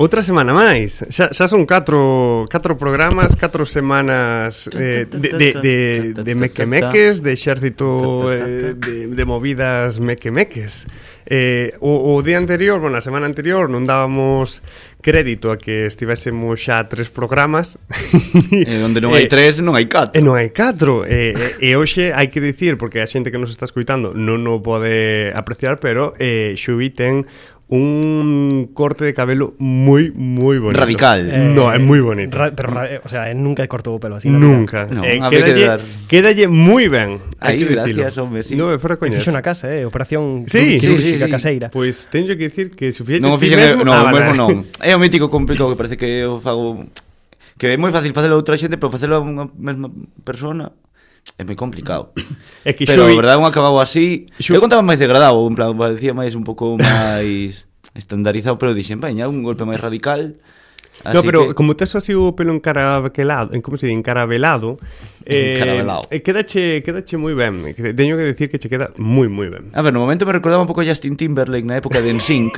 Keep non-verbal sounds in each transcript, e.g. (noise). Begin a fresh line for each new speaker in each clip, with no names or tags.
Outra semana máis. Xa, xa son catro, catro programas, catro semanas eh, de, de, de, de mequemeques, de xército eh, de, de movidas mequemeques. Eh, o, o día anterior, bueno, a semana anterior non dábamos crédito a que estivésemos xa tres programas
Eh, onde non
(laughs) Eh,
hai tres, non hai catro.
E non hai catro E, e, e hoxe hai que dicir Porque a xente que nos está escuitando Non o pode apreciar Pero eh, Xubi ten un corte de cabelo moi, moi bonito
Radical.
eh, No, é moi bonito
ra- pero, ra- eh, o sea, eh, nunca cortou o pelo así. na vida.
Nunca
No,
eh,
habría que
quédalle,
dar-
quédalle moi ben hai
Aí,
que dicilo.
gracias, home, sí.
No, é fora
E
coñas
Fixo na casa, eh, operación
Sí,
quirúrgica
sí, sí, sí.
caseira.
Pois teño que dicir que se o fixeches
Non o
ti
fixen, eh,
mesmo-
non,
Ah,
o
vale.
mesmo non.
(laughs)
É o mítico complicado que parece que eu fago que é moi fácil facelo a outra xente, pero facelo a unha mesma persona é moi complicado.
É que
pero,
Xubi-
a verdade, un acabado así...
Xu-
Eu contaba máis degradado, en plan, parecía máis un pouco máis estandarizado, pero dixen, veña, un golpe máis radical. Así
no, pero
que...
como tes así o pelo encaravelado, en como se di, encaravelado,
Encaravelado.
eh, quedache, quedache moi ben. eh, que Teño que decir que che queda moi moi ben.
A ver, no momento me recordaba un pouco a Justin Timberlake na época de
(laughs)
NSYNC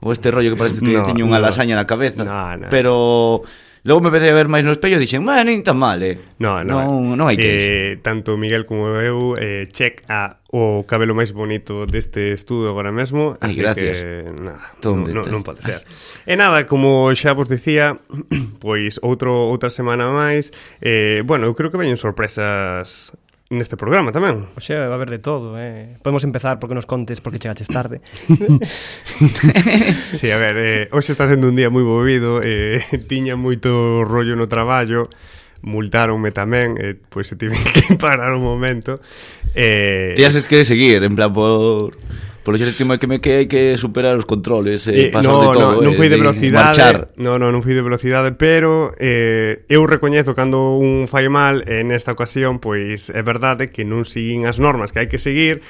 Ou este rollo que parece que
No,
no, tiña unha
no.
no. lasaña na cabeza
No, no.
Pero logo me empecé a ver máis no espello e dixen "Bah, nin tan mal, eh
No, no,
non, non hai que eh...
eh, tanto Miguel como eu eh, check a o cabelo máis bonito deste estudo agora mesmo,
Ai,
así
gracias.
que nada, non,
Tómete.
non, non pode ser. E nada, como xa vos dicía, (clears throat) pois outro outra semana máis, eh, bueno, eu creo que veñen sorpresas neste programa tamén.
Oxe, va a haber de todo, eh. Podemos empezar porque nos contes porque chegaches
(laughs)
tarde.
Sí, a ver, eh, hoxe está sendo un día moi movido eh, (laughs) Tiña moito rollo no traballo Multaronme tamén eh, Pois se tive que (laughs) parar un momento eh,
Tías es que seguir, en plan por... Por lo xertimo que me que hai que superar os controles eh, pasar
no,
de todo
no, non
eh,
fui de
de
velocidade,
marchar.
no, no, non fui de velocidade, pero eh, eu recoñezo cando un fai mal e nesta ocasión, pois é verdade que non seguín as normas que hai que seguir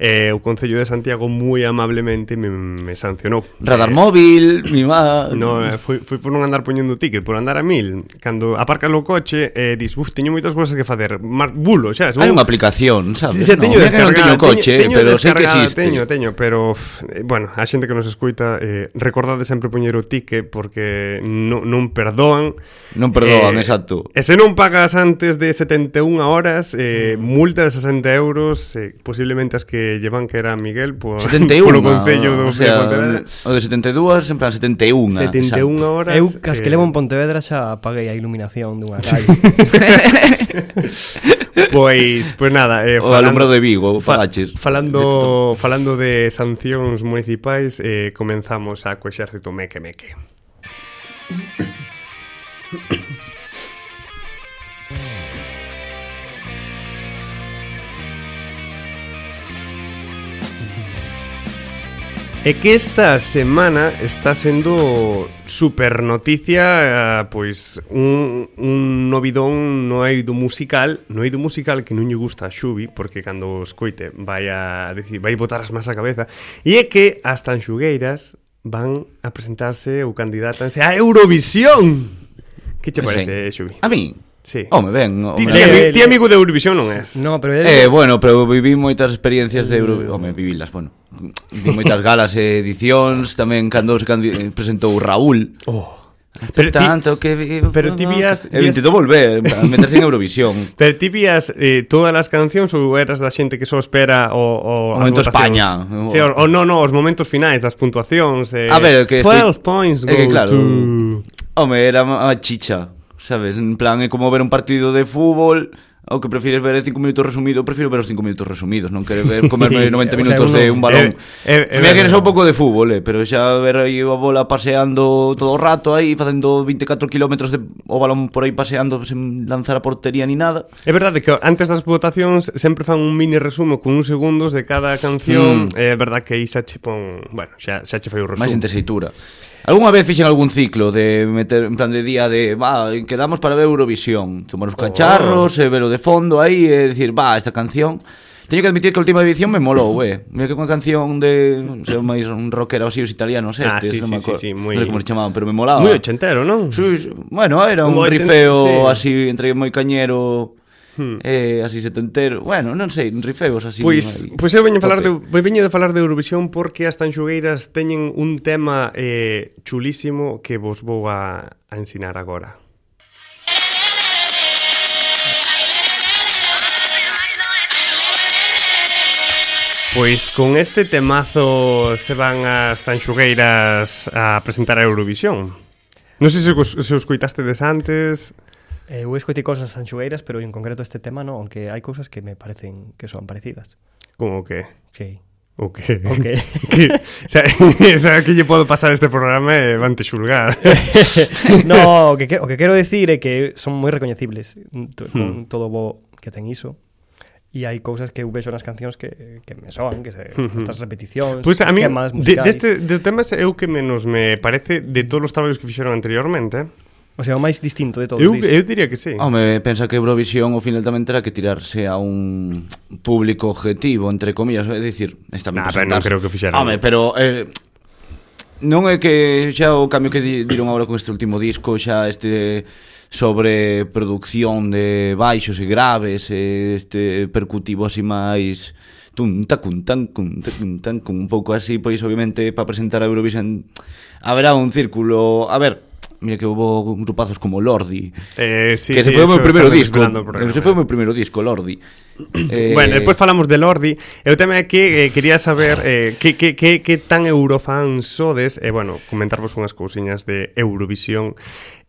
eh, o Concello de Santiago moi amablemente me, me sancionou
Radar
Eh,
móvil, mi má...
No, eh, foi, foi por non andar poñendo ticket, por andar a mil. Cando aparcas o coche, eh, dis, uf, teño moitas cousas que facer. Mar, bulo, xa,
Hai unha aplicación, sabes?
Se teño
Mira que non
descargada,
teño coche,
teño, teño
pero sei que
descargada,
existe.
Teño, teño, pero f, eh, bueno, a xente que nos escuita, eh, recordade sempre poñer o ticket porque non, non perdoan. Eh,
Non perdoan, exacto.
E se non pagas antes de 71 horas, eh, multa de 60 euros, eh, posiblemente as que llevan que era Miguel (laughs) por,
71.
polo Concello do
ah, o, sea,
Pontevedra.
o de 72, en plan 71.
71
exacto.
horas.
eu cas que
eh,
levo en Pontevedra xa apaguei a
(laughs)
iluminación dunha calle.
Pois, pois nada, eh,
O alumbrado de Vigo, pagaches.
falando, falando de sancións municipais, eh, comenzamos a co exército meque meque. E que esta semana está sendo super noticia eh, pois un, un novidón no eido musical no eido musical que non lle gusta a Xubi porque cando o escoite vai a decir, vai botar as más a cabeza e é que as tanxugueiras van a presentarse ou candidatanse a Eurovisión que che
Sí.
parece, Xubi?
A mí?
Sí.
Home, ben. Home,
Ti, ti,
Hombre,
ami-
el-
ti amigo de Eurovisión non és?
no, pero
Eh, bueno, pero viví moitas experiencias de Euro... Home, vivilas, bueno. Vi moitas galas e edicións, tamén cando se candi... eh, presentou Raúl.
Oh. Pero ti-
tanto que vivo...
pero ti vías-
Eu
vías-
intento volver, en plan, meterse en Eurovisión.
Pero ti vías eh, todas as cancións ou eras da xente que só espera o, o as
Momento
votacións?
España.
Sí, o, o no, no, os momentos finais das puntuacións eh,
A ver, que
12
estoy-
points go
é que claro.
to...
Home, era a chicha, sabes? En plan, é como ver un partido de fútbol o que prefires ver en 5 minutos resumido, prefiro ver os 5 minutos resumidos, non quero ver comerme
(laughs) Sí,
90
o sea,
minutos
uno-
de un balón.
Eh, eh, eh,
Mira que eres
verdad.
un pouco de fútbol, eh, pero xa ver aí a bola paseando todo o rato aí, facendo 24 kilómetros de o balón por aí paseando sen lanzar a portería ni nada.
É verdade que antes das votacións sempre fan un mini resumo con uns segundos de cada
Mm.
canción. É verdade que aí xa che pon, bueno, xa xa che fai o resumo.
Máis en tesitura. Algúnha vez fixen algún ciclo de meter en plan de día de, va, quedamos eh, para ver Eurovisión, tomar os cacharros, oh. e velo de fondo aí e dicir, va, eh, esta canción. Teño que admitir que a última edición me molou, eh. Mira que unha canción de, non sei, máis un rockero así os italianos
Ah, sí,
estes, non
sí,
me
sí,
acordo.
sí, moi-
Non sei como se chamaban, pero me molaba.
Muy ochentero, non?
Sí, sí. Bueno, era un
Como oiten-
rifeo
sí. Hmm.
así entre moi cañero eh, así setentero. Bueno, non sei, rifeos así.
Pois,
moi-
pois eu veño a falar de,
tope.
eu veño de falar de Eurovisión porque as tanxugueiras teñen un tema eh, chulísimo que vos vou a, a ensinar agora. Pois con este temazo se van as tanxugueiras a presentar a Eurovisión. Non sei se, os- se os coitaste des antes...
Eh, eu escoitei cosas anxugueiras, pero en concreto este tema non, aunque hai cousas que me parecen que son parecidas.
Como que...
Sí.
O que?
O que?
(laughs) que o sea, o sea, que lle podo pasar este programa eh, e vante
(laughs)
xulgar.
no, o que, que- o que quero dicir é que son moi recoñecibles mm, to-
Hmm.
con todo bo que ten iso. E hai cousas que eu vexo nas cancións que, que me soan, que se, estas
Hmm,
repeticións,
Pois pues a mí,
esquemas
de,
musicais.
deste, de temas é o que menos me parece de todos os traballos que fixeron anteriormente.
O sea, o máis distinto de todos.
Eu,
dis.
eu diría que sí.
Home, pensa que Eurovisión ao final tamén terá que tirarse a un público objetivo, entre comillas, é dicir, está ben
Nah, pero non
presentarse.
creo que fixeran.
Home, pero eh, non é que xa o cambio que di- diron agora con este último disco, xa este sobre producción de baixos e graves, e este percutivo así máis tun tacun tan cun tacun tan cun un pouco así, pois obviamente para presentar a Eurovision haberá un círculo, a ver, mira que houve grupazos como Lordi,
Eh, sí,
que
sí,
se foi o
eso
meu primeiro
estamos
disco.
esperando o programa.
Se foi o meu primeiro disco, Lordi.
(clears throat)
eh,
Bueno, despois falamos de Lordi. Eu tamén aquí eh, quería saber eh, que, que, que, que tan eurofan sodes e, eh, bueno, comentarvos unhas cousiñas de Eurovisión.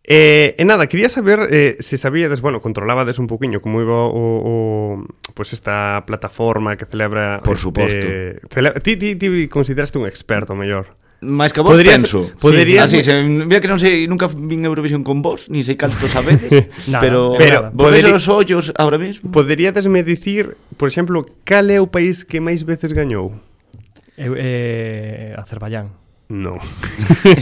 Eh, e nada, quería saber eh, se sabíades, bueno, controlabades un poquinho como iba o, o pues esta plataforma que celebra
Por
este-
suposto.
cele- ti, ti, ti consideraste un experto mellor
máis que a vos
Podrías-
penso.
podrías-
Así, se, mira que non sei, nunca vin Eurovisión con vos, ni sei canto sabedes,
(laughs)
Nada,
pero,
pero
pero vos
poderi-
poderi... os ollos ahora mismo.
Poderíades me dicir, por exemplo, cal é o país que máis veces gañou?
Eu, eh, Azerbaiyán.
(laughs)
Non (laughs)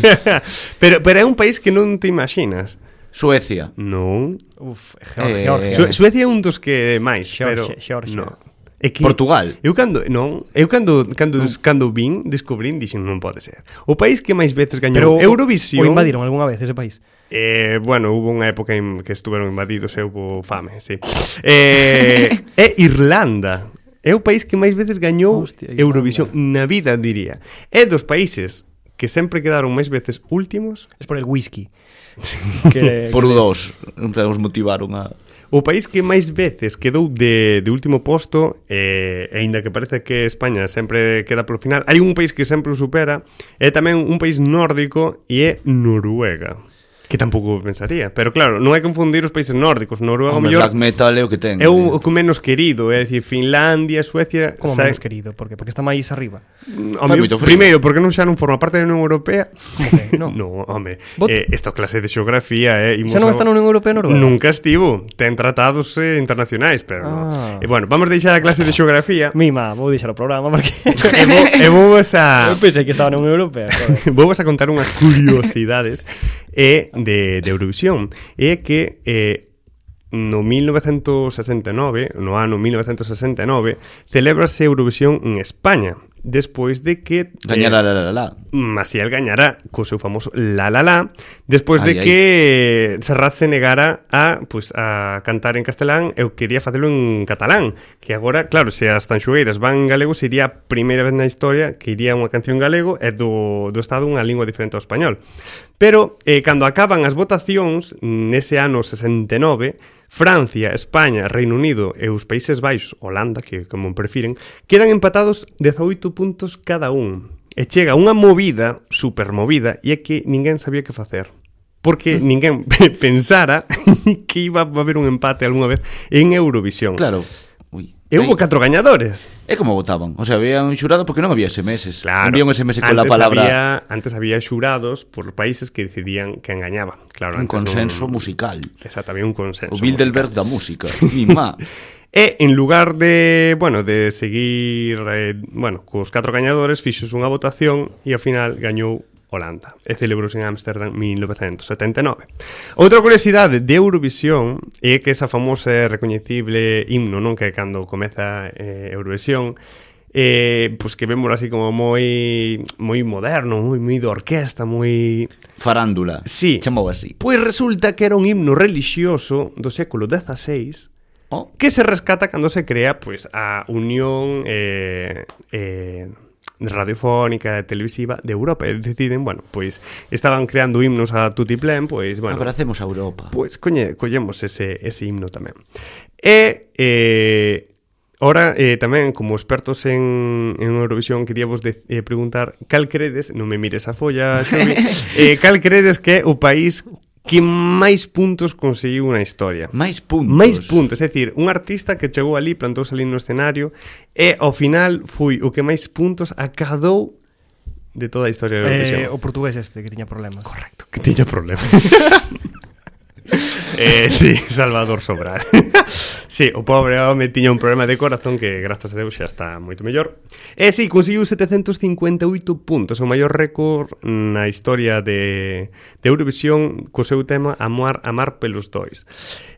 pero, pero é un país que non te imaginas
Suecia.
Non
Uf,
Eh,
Georgia. Georgia.
Su Suecia é un dos que máis,
Xeorxia-
pero
Xeorxia.
no. É que
Portugal.
Eu cando, non, eu cando cando cando vin, descubrín, dixen non pode ser. O país que máis veces
Pero
gañou
o-
Eurovisión.
O invadiron algunha vez ese país.
Eh, bueno, hubo unha época en que estuveron invadidos e hubo fame, sí. Eh, é Irlanda. É o país que máis veces gañou
Hostia, Irlanda.
Eurovisión na vida, diría. É dos países que sempre quedaron máis veces últimos
Es por el whisky.
(laughs)
(laughs) que,
Eh,
Por
que-
dous. En plan, os motivaron a...
O país que máis veces quedou de, de último posto eh, e aínda que parece que España sempre queda polo final, hai un país que sempre o supera é tamén un país nórdico e é Noruega que tampouco pensaría, pero claro, non hai que confundir os países nórdicos, Noruega o
Home,
mellor
black metal é o que ten.
é
eh,
o, o que menos querido, é dicir, Finlandia, Suecia,
Como
sae-
menos querido, porque porque está máis arriba.
o
Fai
meu-
moito frío.
primeiro, porque non xa non forma parte da Unión Europea, (laughs)
Como que non.
No, home,
Vot-
eh, esta clase de xeografía, eh, imos
Xa
a-
non está na Unión Europea Noruega?
Nunca estivo, ten tratados eh, internacionais, pero ah. no.
Ah.
E bueno, vamos deixar a clase de xeografía.
Mima, vou deixar o programa porque
e, vo, e vos a (laughs)
eu pensei que estaba na Unión Europea. joder.
Vou a contar unhas curiosidades eh, de, de Eurovisión É que eh, no 1969 No ano 1969 Celébrase Eurovisión en España Despois de que eh,
Gañar a la la la la.
Maciel gañará co seu famoso La La La despois de
Ai, ai.
que Eh, Serrat se negara a pues, a cantar en castelán eu quería facelo en catalán que agora, claro, se as tanxugueiras van en galego sería a primeira vez na historia que iría unha canción en galego e do, do estado unha lingua diferente ao español pero eh, cando acaban as votacións nese ano 69 Francia, España, Reino Unido e os Países Baixos, Holanda, que como prefiren, quedan empatados 18 puntos cada un. E chega unha movida, supermovida, e é que ninguén sabía que facer. Porque
Mm.
ninguén (laughs) pe- pensara (laughs) que iba a haber un empate algunha vez en Eurovisión.
Claro. Ui.
E hubo
Ai.
catro gañadores.
É como votaban. O sea, había un xurado porque non había SMS.
Claro.
Envía un SMS con la
Antes
palabra...
Había, antes había xurados por países que decidían que engañaba. Claro, antes
Un
non-
consenso musical.
Exacto, había un consenso.
O Bilderberg da música. Mi
(laughs)
má.
E en lugar de, bueno, de seguir, eh, bueno, cos catro gañadores, fixos unha votación e ao final gañou Holanda e celebrouse en Ámsterdam 1979. Outra curiosidade de Eurovisión é que esa famosa e recoñecible himno, non que cando comeza eh, Eurovisión, eh, pois que vemos así como moi moi moderno, moi moi de orquesta, moi
Farándula.
Sí.
Chamou así.
Pois resulta que era un himno relixioso do século XVI
Oh.
que se rescata cando se crea pois a Unión eh, eh, radiofónica e televisiva de Europa e deciden, bueno, pois estaban creando himnos a Tutiplén, pois, bueno,
Abracemos a Europa.
pois coñe, collemos ese, ese himno tamén. E eh, ora eh, tamén como expertos en, en Eurovisión queríamos de, eh, preguntar cal credes, non me mires a folla, Xobi, eh, cal credes que é o país que máis puntos conseguiu na historia?
Máis puntos.
Máis puntos, é dicir, un artista que chegou ali, plantouse ali no escenario e ao final foi o que máis puntos acadou de toda a historia da Eurovisión.
Eh, o portugués este que tiña problemas. Correcto.
Que tiña problemas. (laughs) eh, sí, Salvador Sobral. (laughs) sí, o pobre home tiña un problema de corazón que grazas a Deus xa está moito mellor. E eh, sí, conseguiu 758 puntos, o maior récord na historia de, de Eurovisión co seu tema Amar, Amar pelos dois.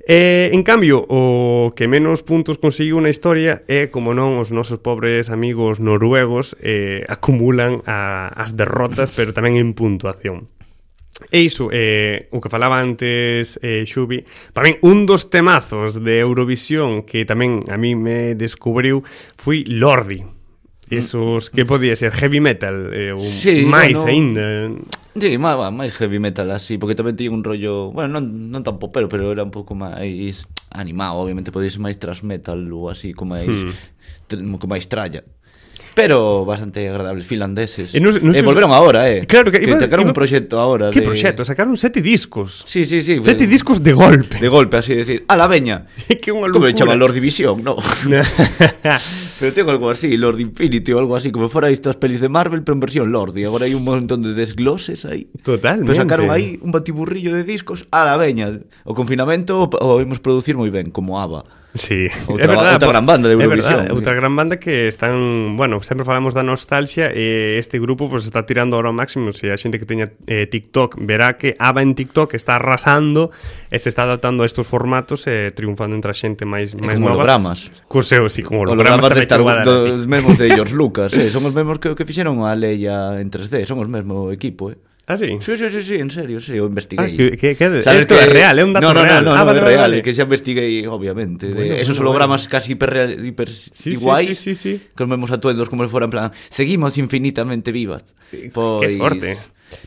Eh, en cambio, o que menos puntos conseguiu na historia é, como non, os nosos pobres amigos noruegos eh, acumulan a, as derrotas, pero tamén en puntuación. E iso, eh, o que falaba antes eh, Xubi, para min un dos temazos de Eurovisión que tamén a mí me descubriu foi Lordi. Esos que podía ser heavy metal eh, ou
Sí,
máis
bueno.
aínda.
Sí, má- má- máis heavy metal así, porque tamén tiña un rollo, bueno, non, non tan popero, pero era un pouco máis animado, obviamente podía ser máis thrash metal ou así, con máis
Hmm.
hmm. con máis tralla. Pero bastante agradables finlandeses.
E non se- non
eh,
se-
volveron agora, eh.
Claro que
que sacaron un proxecto agora
Que
de
proxecto? Sacaron sete discos.
Sí, sí, sí.
sete
de-
discos de golpe.
De golpe, así decir, a la veña.
(laughs) que unha
Como
locura.
le llaman Lord División, no.
(laughs)
pero tengo algo así, Lord Infinity o algo así, como fuera estas pelis de Marvel, pero en versión Lord. Y ahora hay un montón de desgloses ahí.
Totalmente.
Pero sacaron aí un batiburrillo de discos a la veña. O confinamento o, o vimos producir moi ben, como ABBA.
Sí,
Outra- outra gran banda de
é
Eurovisión.
verdade, outra gran banda que están, bueno, sempre falamos da nostalgia e este grupo pues, está tirando ahora ao máximo, se a xente que teña eh, TikTok verá que ABBA en TikTok está arrasando e se está adaptando a estos formatos e eh, triunfando entre a xente máis
E
máis
con
nova.
hologramas.
Cuseo, sí, con
Os
hologramas, tamén
de Star
chegou a dar a
Wars,
ti.
dos mesmos
(laughs)
de George Lucas, eh. Son os mesmos que, que fixeron a Leia en 3D, son os mesmo equipo, eh.
Ah, sí?
Sí, sí, sí, sí, en serio, sí, o
Ah,
investiguei.
que- que- que- esto é real, é un dato
no, no,
real.
No, no,
Ah,
no,
vale,
é
vale,
real,
vale.
que xa investiguei, obviamente. de
Bueno,
esos
bueno,
hologramas casi hiper, hiper
sí,
iguais,
sí, sí, sí.
con os mesmos atuendos como se fora en plan, seguimos infinitamente vivas. Pois...
Que forte.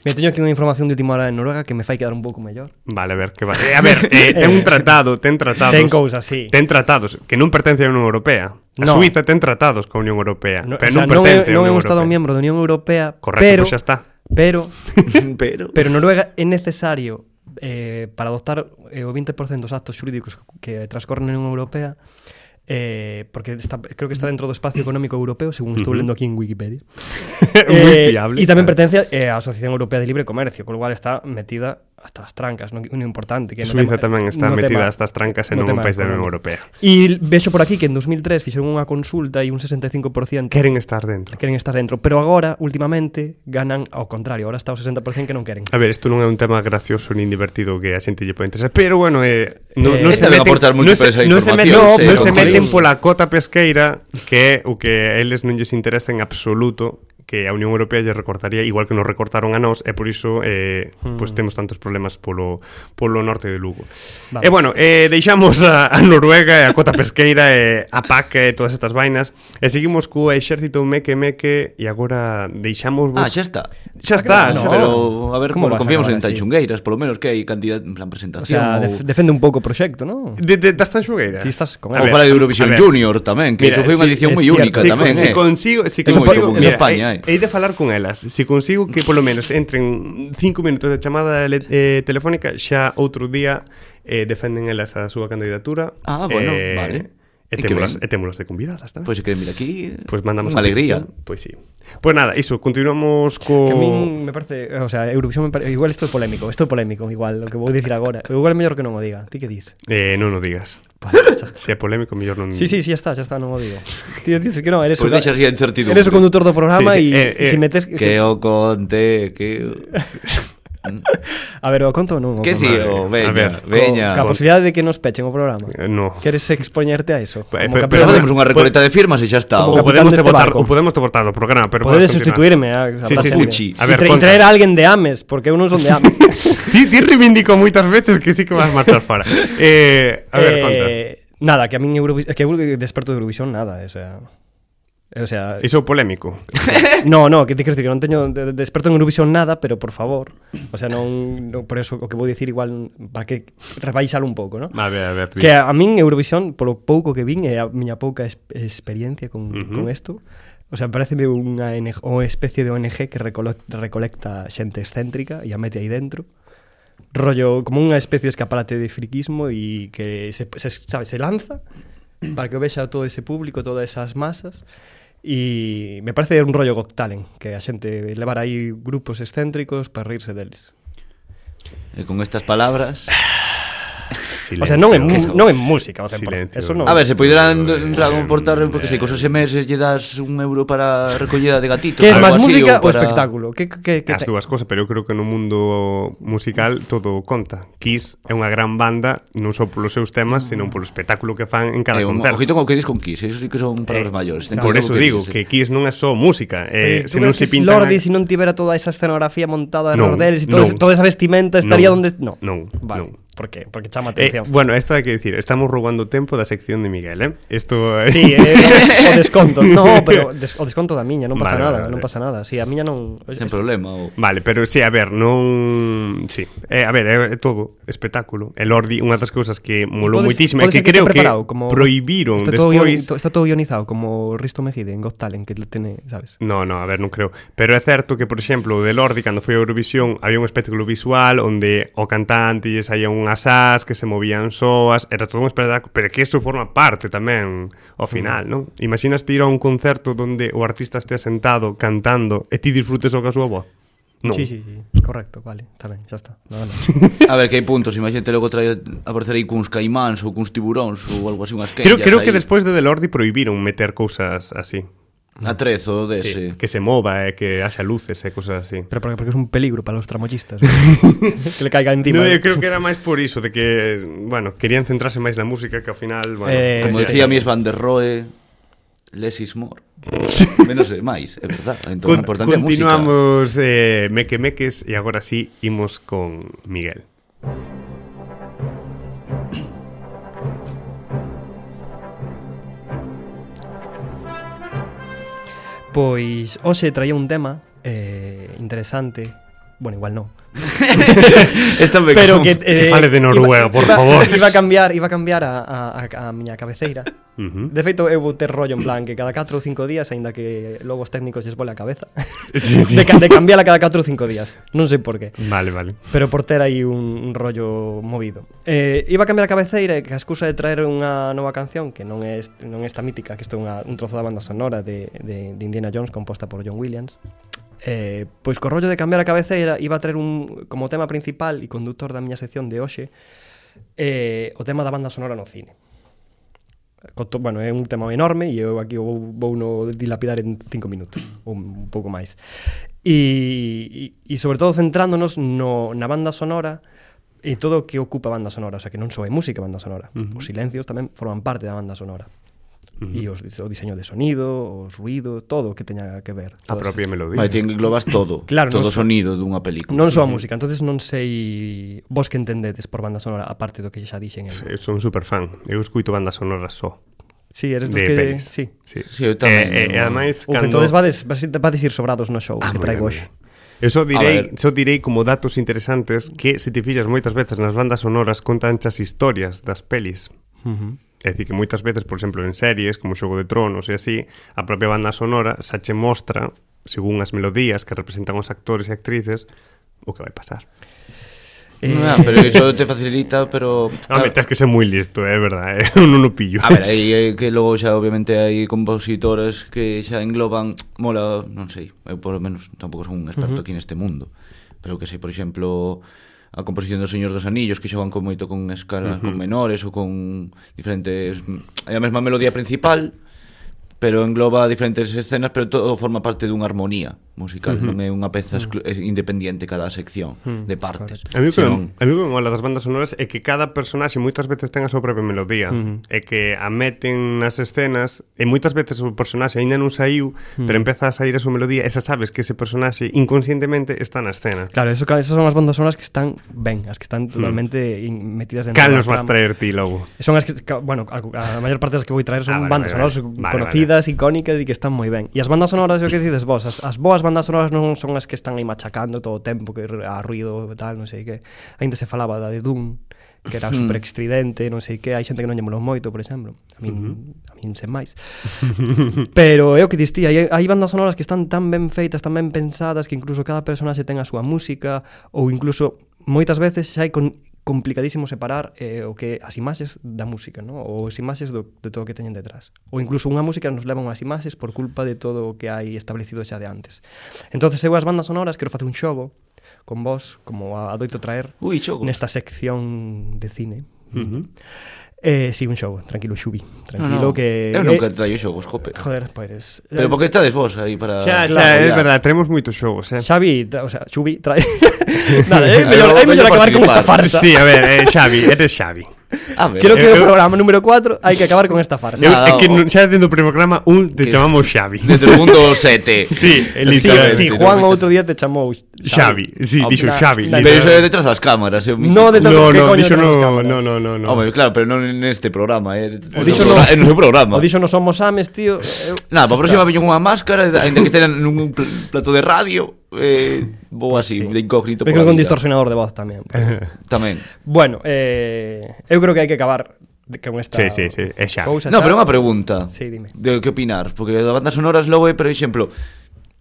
Me teño aquí unha información de última hora en Noruega que me fai quedar un pouco mellor.
Vale, a ver, que vale. Eh, a ver, eh, ten un tratado, ten tratados.
Ten cousas, sí.
Ten tratados, que non pertence á Unión Europea. A
No.
Suiza ten tratados coa Unión Europea,
No,
pero
o
non
sea,
pertence
non
á
é, non é un
Unión
estado
Europea.
miembro da Unión Europea,
Correcto,
pero
pois xa está.
Pero
(laughs) Pero...
pero Noruega é necesario eh, para adoptar eh, o 20% dos actos xurídicos que transcorren na Unión Europea eh, porque está, creo que está dentro do espacio económico europeo, según estou lendo aquí en Wikipedia.
(laughs)
eh,
Moi fiable.
E tamén pertence eh, á Asociación Europea de Libre Comercio, con lo cual está metida hasta as trancas, non no importante. Que no
Suiza
tema- eh,
tamén está
no
metida
tema-
hasta as trancas e
no
non é un
tema
país da Unión
económico.
Europea.
E vexo por aquí que en 2003 fixeron unha consulta e un 65%
Queren estar dentro.
queren estar dentro, pero agora últimamente ganan ao contrario, agora está o 60% que non queren.
A ver, isto non é un tema gracioso nin divertido que a xente lle pode interesar, pero bueno, eh, non
Eh,
non
esta
se
debe
meten,
aportar
non se,
múltiples eh, a
non se meten,
información,
non
sí,
se
sí.
meten pola cota pesqueira, que é o que a eles non lles interesa en absoluto que a Unión Europea lle recortaría igual que nos recortaron a nós e por iso eh, mm. pues, temos tantos problemas polo, polo norte de Lugo.
Vamos.
E bueno, eh, deixamos a, a Noruega e a cota pesqueira e a PAC e todas estas vainas e seguimos co exército meque meque e agora deixamos vos...
Ah, xa está.
Xa está,
No.
xa está.
Pero, a ver,
¿Cómo
bueno,
vas a
confiamos en
acabar así?
Tanchungueiras, polo menos que hai cantidad en plan
O
presentación.
sea, def- defende un pouco o proxecto, non?
De, de, das tanxugueiras.
Ti estás con
A
Ou
él.
ver,
fala de
a-
Eurovisión
a ver.
Junior tamén, que
Mira,
iso foi unha
sí,
edición
es
moi
cierto.
única
Si, con-
tamén, eh.
si consigo, si
Que
consigo,
moi común en España,
he,
eh.
de falar con elas. Se consigo que
(laughs)
polo menos entren 5 minutos de chamada ele- eh, telefónica, xa outro día eh, defenden elas a súa candidatura.
Ah, bueno, vale.
E
E que
témolas, e
ben.
témolas de convidadas tamén.
Pues
Pois se queren vir aquí, eh,
Pois mandamos
unha
a
alegría.
petición. Pois sí. Pois nada, iso, continuamos co
Que a min me parece, o sea, Eurovisión me parece, igual isto é polémico, isto é polémico, igual, o que vou dicir agora. Igual é mellor que non o diga. Ti que dis?
Eh, non o digas.
Vale, xa está.
Se é polémico, mellor non...
Sí, sí, sí, ya está, ya está, non o digo. Tío, dices que non, eres,
Pois
o,
deixas a incertidumbre.
eres o conductor do programa
Sí, sí,
e
eh, eh,
se metes...
Que o conte, que o...
A ver, o conto ou non? o
Que
conto?
si,
madre. A
o veña,
ver,
veña.
Ca posibilidade de que nos pechen o programa.
Eh, no.
Queres expoñerte a eso?
Eh, pe-
Pero
Como
Pero
facemos
bueno,
unha
pod-
recoleta de firmas e xa está.
O
o-
Como
podemos,
capitán deste
te votar,
este barco.
o podemos te votar do programa, pero
Podedes
podes continuar.
sustituirme, eh,
Sí, sí, sí.
Puchi.
A ver,
y, tra- y
conta.
traer a alguén de Ames, porque eu non son de Ames.
Ti, ti reivindico moitas veces que sí que vas marchar fora. Eh, (laughs) a ver,
Eh,
conta.
Nada, que a min Eurovi- que eu desperto de Eurovisión nada, o sea... O sea,
Iso é polémico.
no, no, que te quero dicir que non teño de- de- desperto en Eurovisión nada, pero por favor, o sea, non, non por eso o que vou dicir igual para que rebaixar un pouco, ¿no?
A ver, a ver.
Que a, a min Eurovisión, polo pouco que vin e a miña pouca es, experiencia con, uh -huh.
Ujú.
con esto, o sea, pareceme unha ONG, o especie de ONG que recolo, recolecta xente excéntrica e a mete aí dentro. Rollo, como unha especie de escaparate de friquismo e que se, se, sabe, se lanza para que o vexa todo ese público, todas esas masas. E me parece un rollo Got Talent, que a xente levar aí grupos excéntricos para rirse deles.
E Eh, con estas palabras...
Silencio.
o sea, non é,
Que
mu-
sabes.
non é música, o sea, por-
Silencio.
eso non.
A ver, se poderán
Eh,
entrar a comportar, porque sei, cosas meses lle das un euro para recollida de gatitos.
Que é
algo
máis
así,
música ou
para-
espectáculo? Que, que, que,
As dúas cousas, pero eu creo que no mundo musical todo conta. Kiss é unha gran banda, non só polos seus temas, senón polo espectáculo que fan en cada
Eh, un-
concerto.
ojito con que dis con Kiss, eso sí que son
Eh,
palabras maiores. ten
Por
cuidado
eso
co
digo
dis, eh.
que Kiss non é só música, eh,
Eh,
se non se pinta
Lordi, se non tivera toda esa escenografía montada de
Non,
Nordeles e todo
non.
ese- toda esa vestimenta estaría
Non,
donde... No,
non,
Vale,
non.
por qué? Porque chama
Eh,
atención.
bueno, esto hai que decir, estamos roubando tempo da sección de Miguel, eh? Isto eh,
Sí, eh, o desconto. No,
(laughs)
pero des, o desconto da miña, non pasa
Vale,
nada,
vale,
non
vale.
pasa nada. Si, sí, a miña non...
Sen problema. O...
(laughs) Vale, (laughs) pero sí, a ver, non... Sí, eh, a ver, é eh, todo espectáculo. El Ordi, unha das cousas que molou
Podes-
moitísimo é que
podes ser que
creo
estea
que
preparado, como-
proibiron
Está todo, guion,
despois...
to- está todo guionizado, como Risto Mejide en Got Talent, que lo tiene, ¿sabes?
No, no, a ver, non creo. Pero é certo que, por exemplo, o de Lordi, cando foi a Eurovisión, había un espectáculo visual onde o cantante lle saía unhas as que se movían soas, era todo un espectáculo, pero que iso forma parte tamén ao
Mm.
final, non? Imaginas ti ir a un concerto onde o artista estea sentado cantando e ti disfrutes o que a súa voz? Non.
Sí, sí, sí, correcto, vale, está ben, xa está. Nada
(laughs)
máis.
A ver, que hai puntos, imagínate logo traer aparecer aí cuns caimáns ou cuns tiburóns ou algo así, unhas
Creo,
quenllas
creo que
aí.
despois de Delordi prohibiron meter cousas así.
Atrezo dese.
Que se mova, eh, que haxa luces e eh, cousas así.
Pero porque, porque es un peligro para los
(laughs)
tramoyistas. (laughs) que le caiga
No,
encima. ¿eh?
eu creo que era máis por iso de que, bueno, querían centrarse máis na música que ao final, bueno,
Eh,
Como
sí,
decía
sí.
Mies van der Rohe, less is more. (laughs) Menos é máis, é verdad. Entón,
Con-
Con, importante é a música.
continuamos eh, meque meques e agora sí imos con Miguel.
Pois hoxe traía un tema eh, interesante Bueno, igual non
(laughs) Esta me
(laughs) Pero
como-
que, eh,
que fale de Noruega,
iba,
por
iba,
favor.
(laughs) Iba a cambiar, iba a, cambiar a, a, a, a miña cabeceira
Ujú.
De feito, eu vou ter rollo en plan que cada 4 ou 5 días Ainda que logo os técnicos lles vole a cabeza
Sí, sí.
de, ca- de cambiala cada 4 ou 5 días Non sei por qué
Vale, vale.
Pero por ter aí un, un rollo movido eh, Iba a cambiar a cabeceira e que a excusa de traer unha nova canción Que non é, est- non é esta mítica Que isto é unha, un trozo da banda sonora de, de, de Indiana Jones Composta por John Williams eh, Pois co rollo de cambiar a cabeceira Iba a traer un, como tema principal e conductor da miña sección de hoxe eh, O tema da banda sonora no cine Conto, bueno, é un tema enorme e eu aquí o vou, vou no dilapidar en cinco minutos ou un pouco máis e, e, e sobre todo centrándonos no, na banda sonora e todo o que ocupa a banda sonora o sea que non só é música a banda sonora uh -huh. os silencios tamén forman parte da banda sonora uh -huh. e os, o diseño de sonido os ruido, todo o que teña que ver
A
todas
propia melodía.
Vai, ti englobas todo,
Claro,
todo
non
o
so-
sonido dunha película.
Non só a música, entonces non sei vos que entendedes por banda sonora aparte do que xa dixen.
Eu Eh,
Eu.
son super fan. Eu escoito bandas sonoras só.
Sí, eres dos
De
que
pelis.
sí.
sí.
Sí, eu tamén,
Eh, eh, e
eu-
ademais,
Uf,
cando...
entonces vades, vas, vades ir sobrados no show ah, que
moi
traigo
ben,
hoxe.
moi ben. Eu só
A
direi,
ver.
só direi como datos interesantes que se te fixas moitas veces nas bandas sonoras contan as historias das pelis.
Uh -huh.
É dicir, que moitas veces, por exemplo, en series como Xogo de Tronos e así, a propia banda sonora xa che mostra, según as melodías que representan os actores e actrices, o que vai pasar.
(laughs) Eh,
Ah, pero iso te facilita, pero...
Home, tens que ser moi listo, (laughs) é verdad, eh? eu non o pillo.
Ah, A ver, aí eh, que logo xa obviamente hai compositores que xa engloban mola, eh, non sei, eu por lo menos tampouco son un experto uh -huh. aquí neste mundo, pero que sei, por exemplo, a composición do Señor dos Anillos que xogan con moito con escalas uh -huh. con menores ou con diferentes é a mesma melodía principal pero engloba diferentes escenas, pero todo forma parte dunha armonía musical, uh -huh. non é unha peza uh -huh. independiente cada sección uh -huh. de partes.
(laughs) A mí, que, Senón... a mí que me mola das bandas sonoras é que cada personaxe moitas veces ten a súa propia melodía, uh -huh. e que a meten nas escenas, e moitas veces o personaxe aínda non saiu, uh -huh. pero empeza a sair a súa melodía, e xa sabes que ese personaxe inconscientemente está na escena.
Claro, eso, esas son as bandas sonoras que están ben, as que están totalmente uh -huh. metidas dentro
Cal nos vas traer ti logo?
Son as que, bueno, a, a maior parte das que vou traer son ah, vale, bandas vale, sonoras vale, conocidas, vale. icónicas e que están moi ben. E as bandas sonoras, o que dices vos, as, as boas bandas sonoras non son as que están aí machacando todo o tempo que a ruido e tal, non sei que. Ainda se falaba da de Doom, que (laughs) era super extridente, non sei que, hai xente que non lle molou moito, por exemplo. A min, uh -huh. a min sen máis. Pero é o que distía, hai, hai bandas sonoras que están tan ben feitas, tan ben pensadas, que incluso cada personaxe ten a súa música ou incluso moitas veces xa hai con, complicadísimo separar eh, o que as imaxes da música, ¿no? ou as imaxes do, de todo o que teñen detrás. Ou incluso unha música nos levan unhas imaxes por culpa de todo o que hai establecido xa de antes. entonces eu as bandas sonoras quero facer un xogo con vos, como adoito traer
Ui, xogo.
nesta sección de cine. Uh -huh. Eh, sí, un xogo, tranquilo, Xubi Tranquilo no, no. que...
Eu nunca traio xogos, jope
Joder, eh, pois...
Pues, Pero porque estades vos aí para...
Xa, xa, é verdad, traemos moitos xogos, eh
Xavi, o sea, Xubi
(laughs)
trae... eh, Nada, é mellor, é mellor acabar con esta farsa
Sí, a ver, eh, Xavi, eres Xavi
(laughs)
Ah,
A ver,
Eh,
Creo que o programa número 4 hai que acabar con esta farsa
eu, É que non, xa dentro do programa un te que... chamamos
(laughs)
Xavi
Dentro do mundo 7
Sí,
eh,
literalmente Sí, sí Juan outro día te chamou
(laughs) Xavi, sí,
Ah,
dixo Xavi
Pero iso é detrás das cámaras, eu
No, detrás
No,
que
no,
coño
dixo
detrás das
no,
cámaras.
no, no, no, no.
Home, claro, pero non neste programa, eh.
O dixo
no,
no-
en o seu programa.
O dixo non somos ames, tío Eh, eu...
Nada, para a próxima veño cunha máscara, ainda que estén nun pl- plato de radio, eh,
(laughs)
vou así, de incógnito
Pero
pola
Pues con
vida.
distorsionador de
(laughs)
voz tamén
Tamén.
Bueno, eh, eu creo que hai que acabar de- con esta
Sí, sí, sí, é xa.
cousa
No,
xa.
pero unha pregunta.
Sí, dime.
De que opinar, porque das bandas sonoras logo é, por exemplo,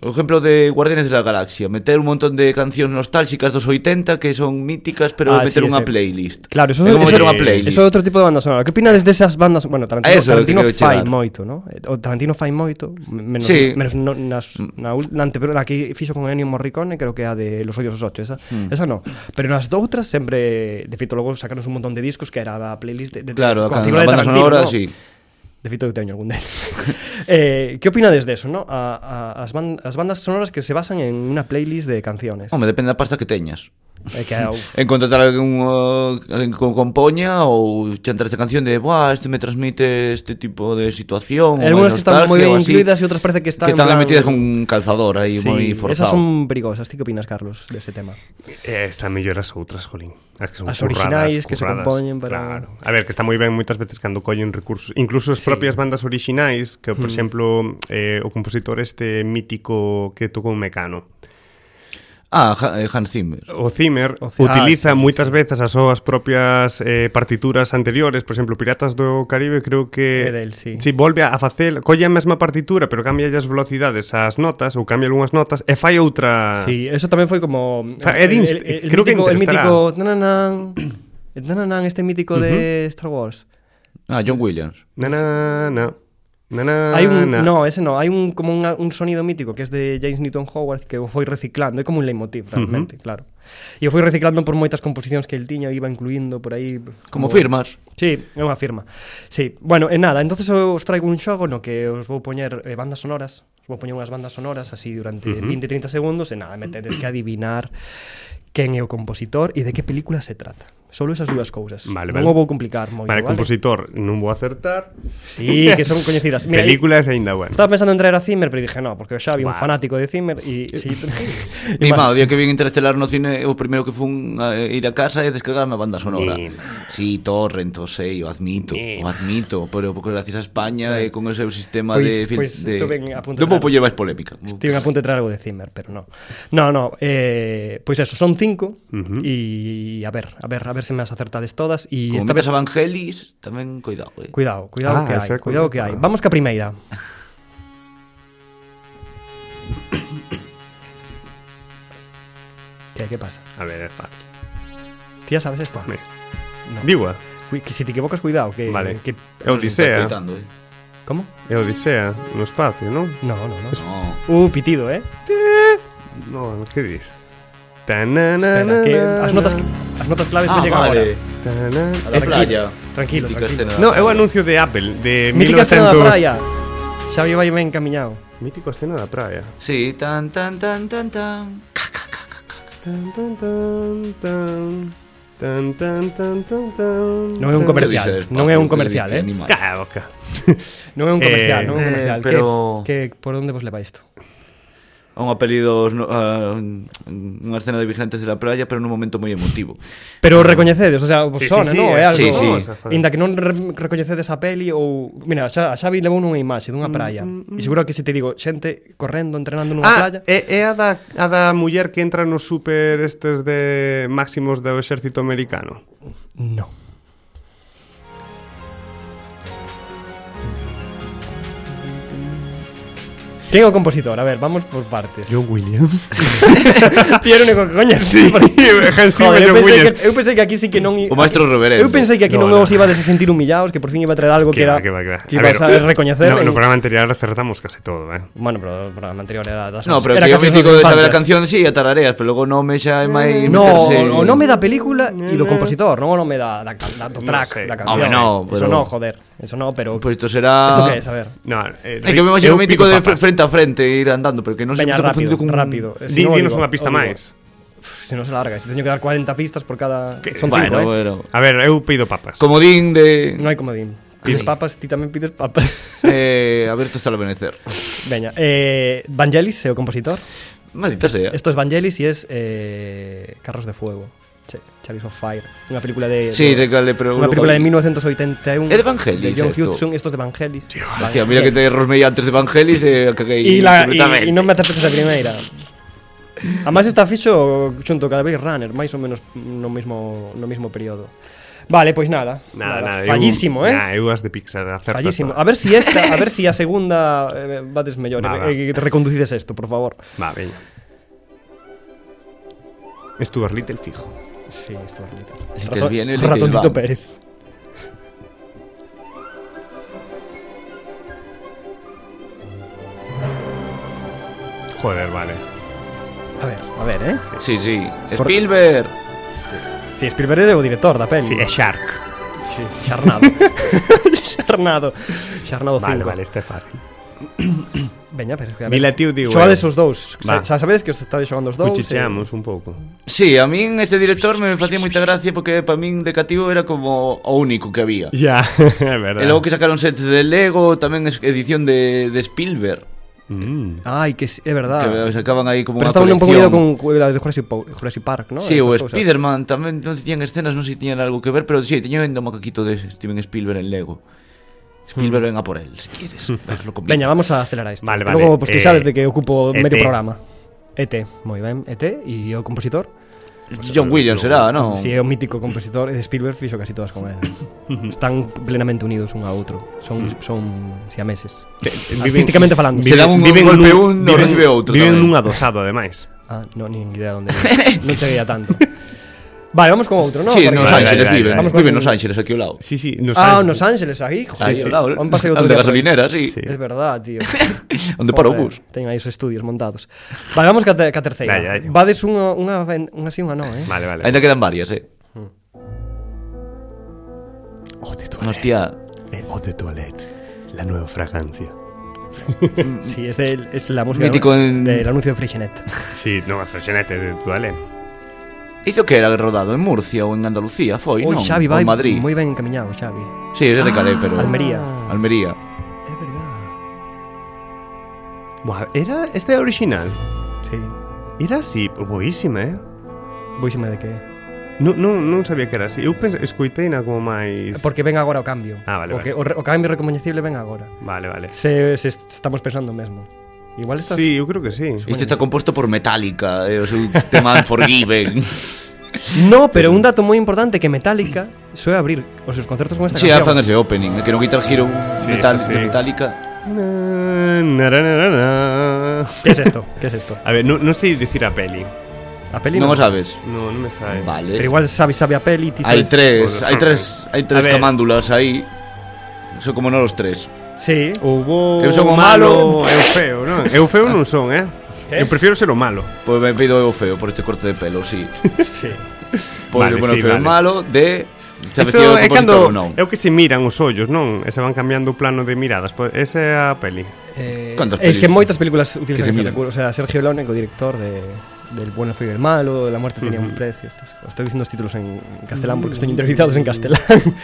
O exemplo de Guardianes de la Galaxia Meter un montón de cancións nostálxicas dos 80 Que son míticas, pero
Ah,
meter
sí,
unha
ese.
playlist
Claro, eso
é como
eso-
meter unha
eh,
playlist
Eso é outro tipo de banda sonora. Que opinades desas bandas, bueno, Tarantino,
A eso é o que
Tarantino
quero
fai
chegar.
moito, ¿no? Eh, O Tarantino fai moito, menos
Sí. Mm.
menos no, nas na, ul- na, ante, pero na que fixo con Ennio Morricone, creo que a de Los Hoyos os Ocho, esa.
Mm.
Esa no. Pero nas doutras sempre, de feito logo sacaron un montón de discos que era da playlist de, de
Claro,
coa
a
figura de
banda
Tarantino,
sonora,
¿no?
sí
De feito eu teño
(laughs)
algún deles. eh, que opinades deso, ¿no? A, a, as, ban as bandas sonoras que se basan en unha playlist de canciones.
Home, depende da pasta que teñas
Eh, que, au,
En contratar algún, uh, alguén que compoña ou chantar esta canción de Buah, este me transmite este tipo de situación
Hay
ou de
algunas que están
nostalgia
moi ben
ou así,
incluídas e outras parece que están
Que
en
están
plan-
metidas con un calzador aí
Sí,
moi
esas
forzado
son perigosas. Ti que opinas, Carlos, de ese tema?
Eh, está mellor as outras, jolín. As que son
As
curradas,
orixinais que se
curradas.
compoñen para-
Claro. A ver, que está moi ben moitas veces cando collen recursos. Incluso as
Sí. Mm.
propias bandas orixinais, que, por exemplo, eh, o compositor este mítico que tocou Mecano,
Ah, Ha- eh, Hans Zimmer
O Zimmer,
O Zimmer.
utiliza
Ah, sí,
moitas veces as súas propias eh, partituras anteriores, por exemplo, Piratas do Caribe, creo que
É del, sí.
sí volve a facer, colle a mesma partitura, pero cambia as velocidades as notas ou cambia algunhas notas e fai outra
Sí, eso también fue como...
Fa- Ed Inst- creo que
mítico,
Interestelar.
El mítico... nananán, el nananán, este mítico de Star Wars.
Ah,
Eh,
John Williams
Na na na. Na na.
Hay un,
na.
no, ese no. Hay un, como un, un sonido mítico que es de James Newton Howard que o foi reciclando. É como un leitmotiv, realmente, claro. E o foi reciclando por moitas composicións que el tiña e iba incluindo por aí.
Como firmas
Sí, é unha firma. Sí, bueno, e nada, entonces eu os traigo un xogo no que os vou poñer eh, bandas sonoras, os vou poñer unhas bandas sonoras así durante uh -huh. 20-30 segundos e nada, me tedes que adivinar quen é o compositor e de que película se trata. Solo esas dúas cousas.
Vale,
non
vale.
o vou complicar moito,
Vale,
vale?
compositor, non vou acertar.
Sí, que son coñecidas. Mira, Película...
Películas aínda bueno.
Estaba pensando en traer a Zimmer, pero dije, no, porque o Xavi é un
Vale. Eh,
fanático de Zimmer e...
(laughs)
Sí,
Mi má, o día que vin Interestelar no cine O primeiro que fun a eh, ir a casa E descargarme a banda sonora
Mi
Si, sí, Torrent, o sei, o admito
Mi
O admito, pero porque gracias a España E con ese sistema
Pois-
de, fil-
pois
de...
estuve en- a punto de
Non vou
dar-
poñer máis polémica
Estive a punto de traer algo de Zimmer, pero no. No, no, eh, pois eso, son cinco e a ver, a ver, a ver se me as acertades todas e
Como
esta
metas
vez...
Evangelis, tamén cuidado, eh.
Cuidado, cuidado
Ah,
que
esa é
hai, cuidado que hai.
curiosa.
Vamos ca primeira. que, que pasa?
A ver, é fácil.
Tía, sabes esta?
Mira.
No.
Digo, eh,
Cui- Que si te equivocas, cuidado, que...
Vale.
Que,
é Odisea.
Coitando, eh.
como?
É Odisea no espacio, non?
No, no, no.
No.
Uh, pitido, eh?
No, que dis?
Espera, que as notas... As notas claves
Ah,
non llegan
vale. este,
agora.
Tanana.
A la playa.
Tranquilo,
Mítica
tranquilo.
escena da
No, é o
playa.
anuncio de Apple de
Mítica escena da
1900.
praia. Xavi vai ben encaminhado.
Mítico escena da praia.
Sí, tan, tan, tan, tan, tan.
Tan, tan, tan, tan. Tan, tan, tan, tan, tan.
Non é un
tan.
comercio.
Que
Comercial.
dices,
Non é un
que
comercial,
diste
eh.
animal.
Cala a boca.
Non é un comercial,
Eh,
non é
eh,
un comercial. Que-
pero-
que, por onde vos leva isto?
A un apelido no, a, unha escena de vigilantes de la playa, pero nun momento moi emotivo.
Pero recoñecedes, o sea, vos
Eh, Sí, sí,
sona,
sí,
non?
eh,
É algo.
sí, sí.
Inda que non re recoñecedes a peli ou... Mira, xa, a Xavi levou nunha imaxe dunha
Mm,
praia. E seguro que se te digo xente correndo, entrenando nunha
Ah,
playa...
é, é a da, a da muller que entra nos super estes de máximos do exército americano.
No. Quen é o compositor? A ver, vamos por partes. Yo
(laughs) Williams.
(laughs) Tío, era o único que coña. (laughs) Sí,
(laughs)
Hans Zimmer,
eu,
John
pensei
Williams.
que, eu pensei que aquí sí que non... i-
O maestro reverendo.
Eu pensei que aquí
No, no.
non, vos ibades a sentir humillados, que por fin iba a traer algo que,
Que va,
era...
que va, que va.
que ibas a, recoñecer.
No, no
en-
programa anterior acertamos casi todo, eh.
Bueno, pero o programa anterior era das
No, pero
era
que é o
casi
mítico
dos
de saber a
infantes.
canción, sí, a tarareas, pero logo o nome xa é máis...
No,
meterse-
o o nome da película e do compositor, non o nome da, da, can- da do
No
track,
sei.
da
Home,
canción.
no, pero-
Eso
Pues
no, joder, eso no, pero...
Pois isto será...
Esto que es, a ver.
No, eh,
É que me
eu
imagino o mítico
pico
de fre-
papas.
frente a frente ir andando, pero que non se me
Veña,
está
rápido,
confundido con...
rápido. Eh, si
Di,
no,
dinos
digo,
unha pista
o digo.
máis.
Uf, Se non se larga, se teño que dar 40 pistas por cada...
Que-
Son
Bueno,
cinco, eh?
bueno.
A ver, eu pido papas.
Comodín de...
Non hai comodín.
Ai.
Pides papas, ti tamén pides papas. (laughs)
Eh, Alberto está al amanecer.
Veña, eh, Vangelis é o compositor.
Maldita sea.
Esto es Vangelis e es eh, Carros de Fuego. Che, Chariots of Fire. Unha película de...
Sí, sei
de,
cal é, pero
Unha
logo-
película de 1981.
É de Vangelis
De John
esto.
Hudson, esto es de Vangelis.
Hostia, mira que te rosmei antes de Evangelis e eh, caguei
E la,
completamente.
y, y non me acertes a primeira. Además está fixo xunto cada Blade Runner, máis ou menos no mismo no mismo período. Vale, pois nada.
Nada, nada. eu-
Fallísimo, eh?
Nah, eu as de Pixar acertas
Fallísimo.
todas.
A ver si esta, a ver si a segunda eh, bates mellor,
Va, va.
eh, eh, reconducides esto, por favor.
Va, veña. Stuart Little fijo.
Sí, esto es bonito.
Little bien, el Little
Ratoncito
Bang.
Pérez.
Joder, vale.
A ver, a ver, eh.
Sí, sí. Spielberg.
Si sí, Spielberg é o director da peli.
Sí, é Shark.
sí.
(laughs)
Xarnado. Xarnado. Xarnado 5.
Vale, vale, este é fácil.
Veña, pero es que a ver.
Dilatiu digo.
Xogades os dous.
Va.
Xa, xa sabedes que os estades xogando os dous. eh.
Cuchicheamos un pouco.
Sí, a min este director me facía moita gracia porque para min de cativo era como o único que había.
(laughs)
Ya, é verdade.
E logo que sacaron sets de Lego, tamén es- edición de, de Spielberg.
Mm.
Eh, Ay, que sí, é verdad.
Que sacaban aí como
Ah.
unha
Pero estaban un pouco
colección.
liado con cu- las de Jurassic, Po- Jurassic Park, ¿no?
Sí,
Estas
o
cousas.
Spiderman tamén non tiñan escenas, non sei se tiñan algo que ver, pero sí, tiñan ainda un macaquito de Steven Spielberg en Lego. Spielberg venga por él, si quieres
(laughs)
verlo completo.
Hmm. Veña, vamos a acelerar isto.
Vale,
Que
vale,
Logo, pues, que
eh,
sabes de que ocupo
ET.
medio programa. ET, moi ben, ET, e o compositor?
John Williams será, non?
Si sí, é o mítico compositor e Spielberg fixo casi todas
(laughs)
con él. Están plenamente unidos un a outro. Son,
Mm.
son siameses. Artísticamente falando.
Se dan un golpe un, no recibe outro
Viven
tamén.
nun adosado, ademais.
Ah, no, ni idea dónde. non cheguei a tanto. Vale, vamos con outro, ¿no?
sí,
Porque-
nos
Vale,
Ángeles
vale, vale.
viven, viven
Vamos con-
nos Ángeles aquí ao lado.
Sí, sí, nos
Ah,
han-
Los Ángeles, ahí, joder.
Ahí ao lado,
Un paseo
al
otro
de
día por ahí.
gasolinera, sí.
Sí.
Es verdad, tío.
Onde para o
Joder,
bus.
Teñen aí os estudios montados. Vale, vamos ca, te, ca terceira.
Dai, dai.
Vades unha, unha, ben- unha sí, unha non, eh?
Vale, vale.
Ainda quedan varias, eh.
Eau de toilette.
Hostia,
Eh, eau de toilette. La nueva fragancia.
Sí, es, del, es la música
Mítico
del-
en-
del anuncio de Freixenet.
Sí, no, fragancia de toilette.
Isto que era rodado en Murcia ou en Andalucía, foi,
Oi,
non?
Xavi
Ou en
vai
Madrid.
moi ben encaminhado, Xavi.
Sí, ese de Calé, pero...
Almería.
Almería.
É verdade. Buah, era esta é original.
Sí.
Era así, boísima, eh?
Boísima de que...
Non, non, non sabía que era así. Eu pensei, escuiteina como máis...
Porque ven agora o cambio.
Ah, vale,
o,
vale.
que, o, re- o cambio recoñecible ven agora.
Vale, vale.
Se, se est- estamos pensando o mesmo. Igual estás...
Sí, eu creo que sí.
Isto está composto por Metallica, e o seu tema Unforgiven.
No, pero un dato moi importante que Metallica soe abrir os seus concertos con esta
sí, fan
canción.
ese opening, eh, que no Guitar Hero
Sí,
metal,
esta sí.
de Metallica.
Na, na, na, na, na.
Que es esto? Que es esto?
A ver, non, non sei dicir a peli.
A peli
Non o
non.
sabes.
No, non me sabe.
Vale.
Pero igual Xavi sabe a peli, ti
Hai
sabes-
tres,
Joder.
hai tres, hai
A
tres
ver.
camándulas aí. Son como non os tres.
Sí.
O bo,
Eu son o malo.
eu feo, non? Eu feo non son, eh?
Pues
Que?
Eu prefiero ser o malo.
Pois me pido eu feo por este corte de pelo, sí.
Sí.
Pois
Vale,
vale, bueno,
sí,
sí, vale.
vale.
malo de sabe
Isto
que o
é
compositor
cando
non.
é o que se miran os ollos, non? E se van cambiando o plano de miradas. Pois esa é a peli.
Eh,
¿Cuántas
es que
pelis?
moitas películas
Que se
utilizan ese
miran.
recurso. O sea, Sergio Leone, co-director de del bueno, el feo y el malo, La muerte tenía un precio. Estas, cosas. estoy diciendo os títulos en castelán porque
Mm.
estoy interiorizados en castelán.
(laughs)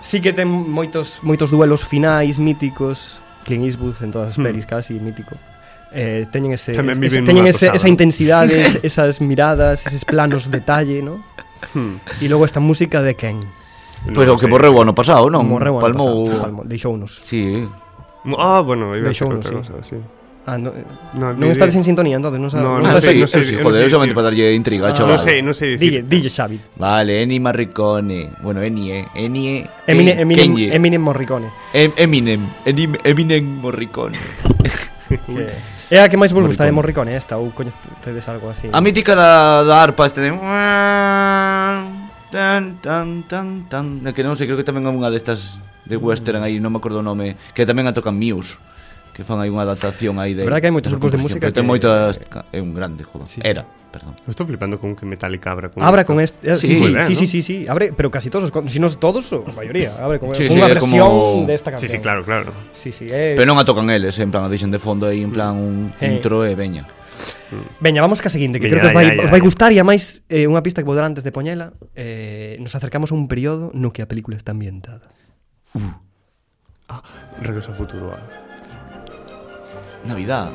sí que ten moitos moitos duelos finais míticos, Clint Eastwood en
Mm.
todas as pelis casi mítico. Eh, teñen ese,
Tamén
ese-
viven
teñen
nunha
ese,
tosada.
esa
(laughs)
intensidade, es- esas miradas, esos planos detalle, ¿no?
Hmm.
E logo esta música de Ken.
Pois o que
sei.
morreu o ano pasado, non?
Morreu ano
Palmou.
pasado, palmou, deixounos.
Sí.
Ah, bueno, iba a ser
Deixounos,
outra
sí.
cosa, sí.
Ah, no, eh,
No,
non
ni
estades
idea.
en sintonía, entonces, non sabes.
No,
Ah,
non sei,
sí,
non sei,
sí,
non
joder,
sei
eso solamente
decir.
para darlle intriga,
Ah,
chaval.
Non sei, non sei
Dille,
dicir.
dille Xavi.
Vale, Ennio Morricone. Bueno, Ennio, eh. Ennio.
Eminem,
Ken-
Eminem,
Kenji.
Eminem
(laughs)
Morricone.
Em- Eminem. Enim- Eminem Morricone.
Que é a que máis vos gusta de
Morricone.
Morricone esta ou coñecedes algo así.
A mítica da, da arpa este de... Tan, tan, tan, tan... Na Que non sei, creo que tamén é unha destas de western aí, non me acordo o nome, que tamén a tocan Muse, que fan aí unha adaptación aí de...
Verdad que hai moitos grupos de música
que... Ten
que-
moitas... É un grande, joder.
Sí, sí.
Era, perdón.
Estou flipando con que Metallica abra con
Abra
esta.
con este, eh,
Sí,
sí, sí,
moi
sí,
ben,
sí,
¿no?
sí, sí, sí, abre, pero casi todos, con- si non todos, a maioría, abre con,
Sí,
con
sí,
unha
é
versión
como-
de esta
Sí,
canción.
sí, claro, claro.
Sí, sí, es...
Pero non a tocan eles, en plan, a deixan de fondo aí, en plan, un
Eh.
intro e veña.
Veña, vamos ca seguinte, que
Veña,
creo que os
dai,
vai,
dai,
os vai
dai.
gustar e ademais eh, unha pista que vou dar antes de poñela, eh, nos acercamos a un período no que a película está ambientada.
Regreso ao futuro. ah.
Navidad.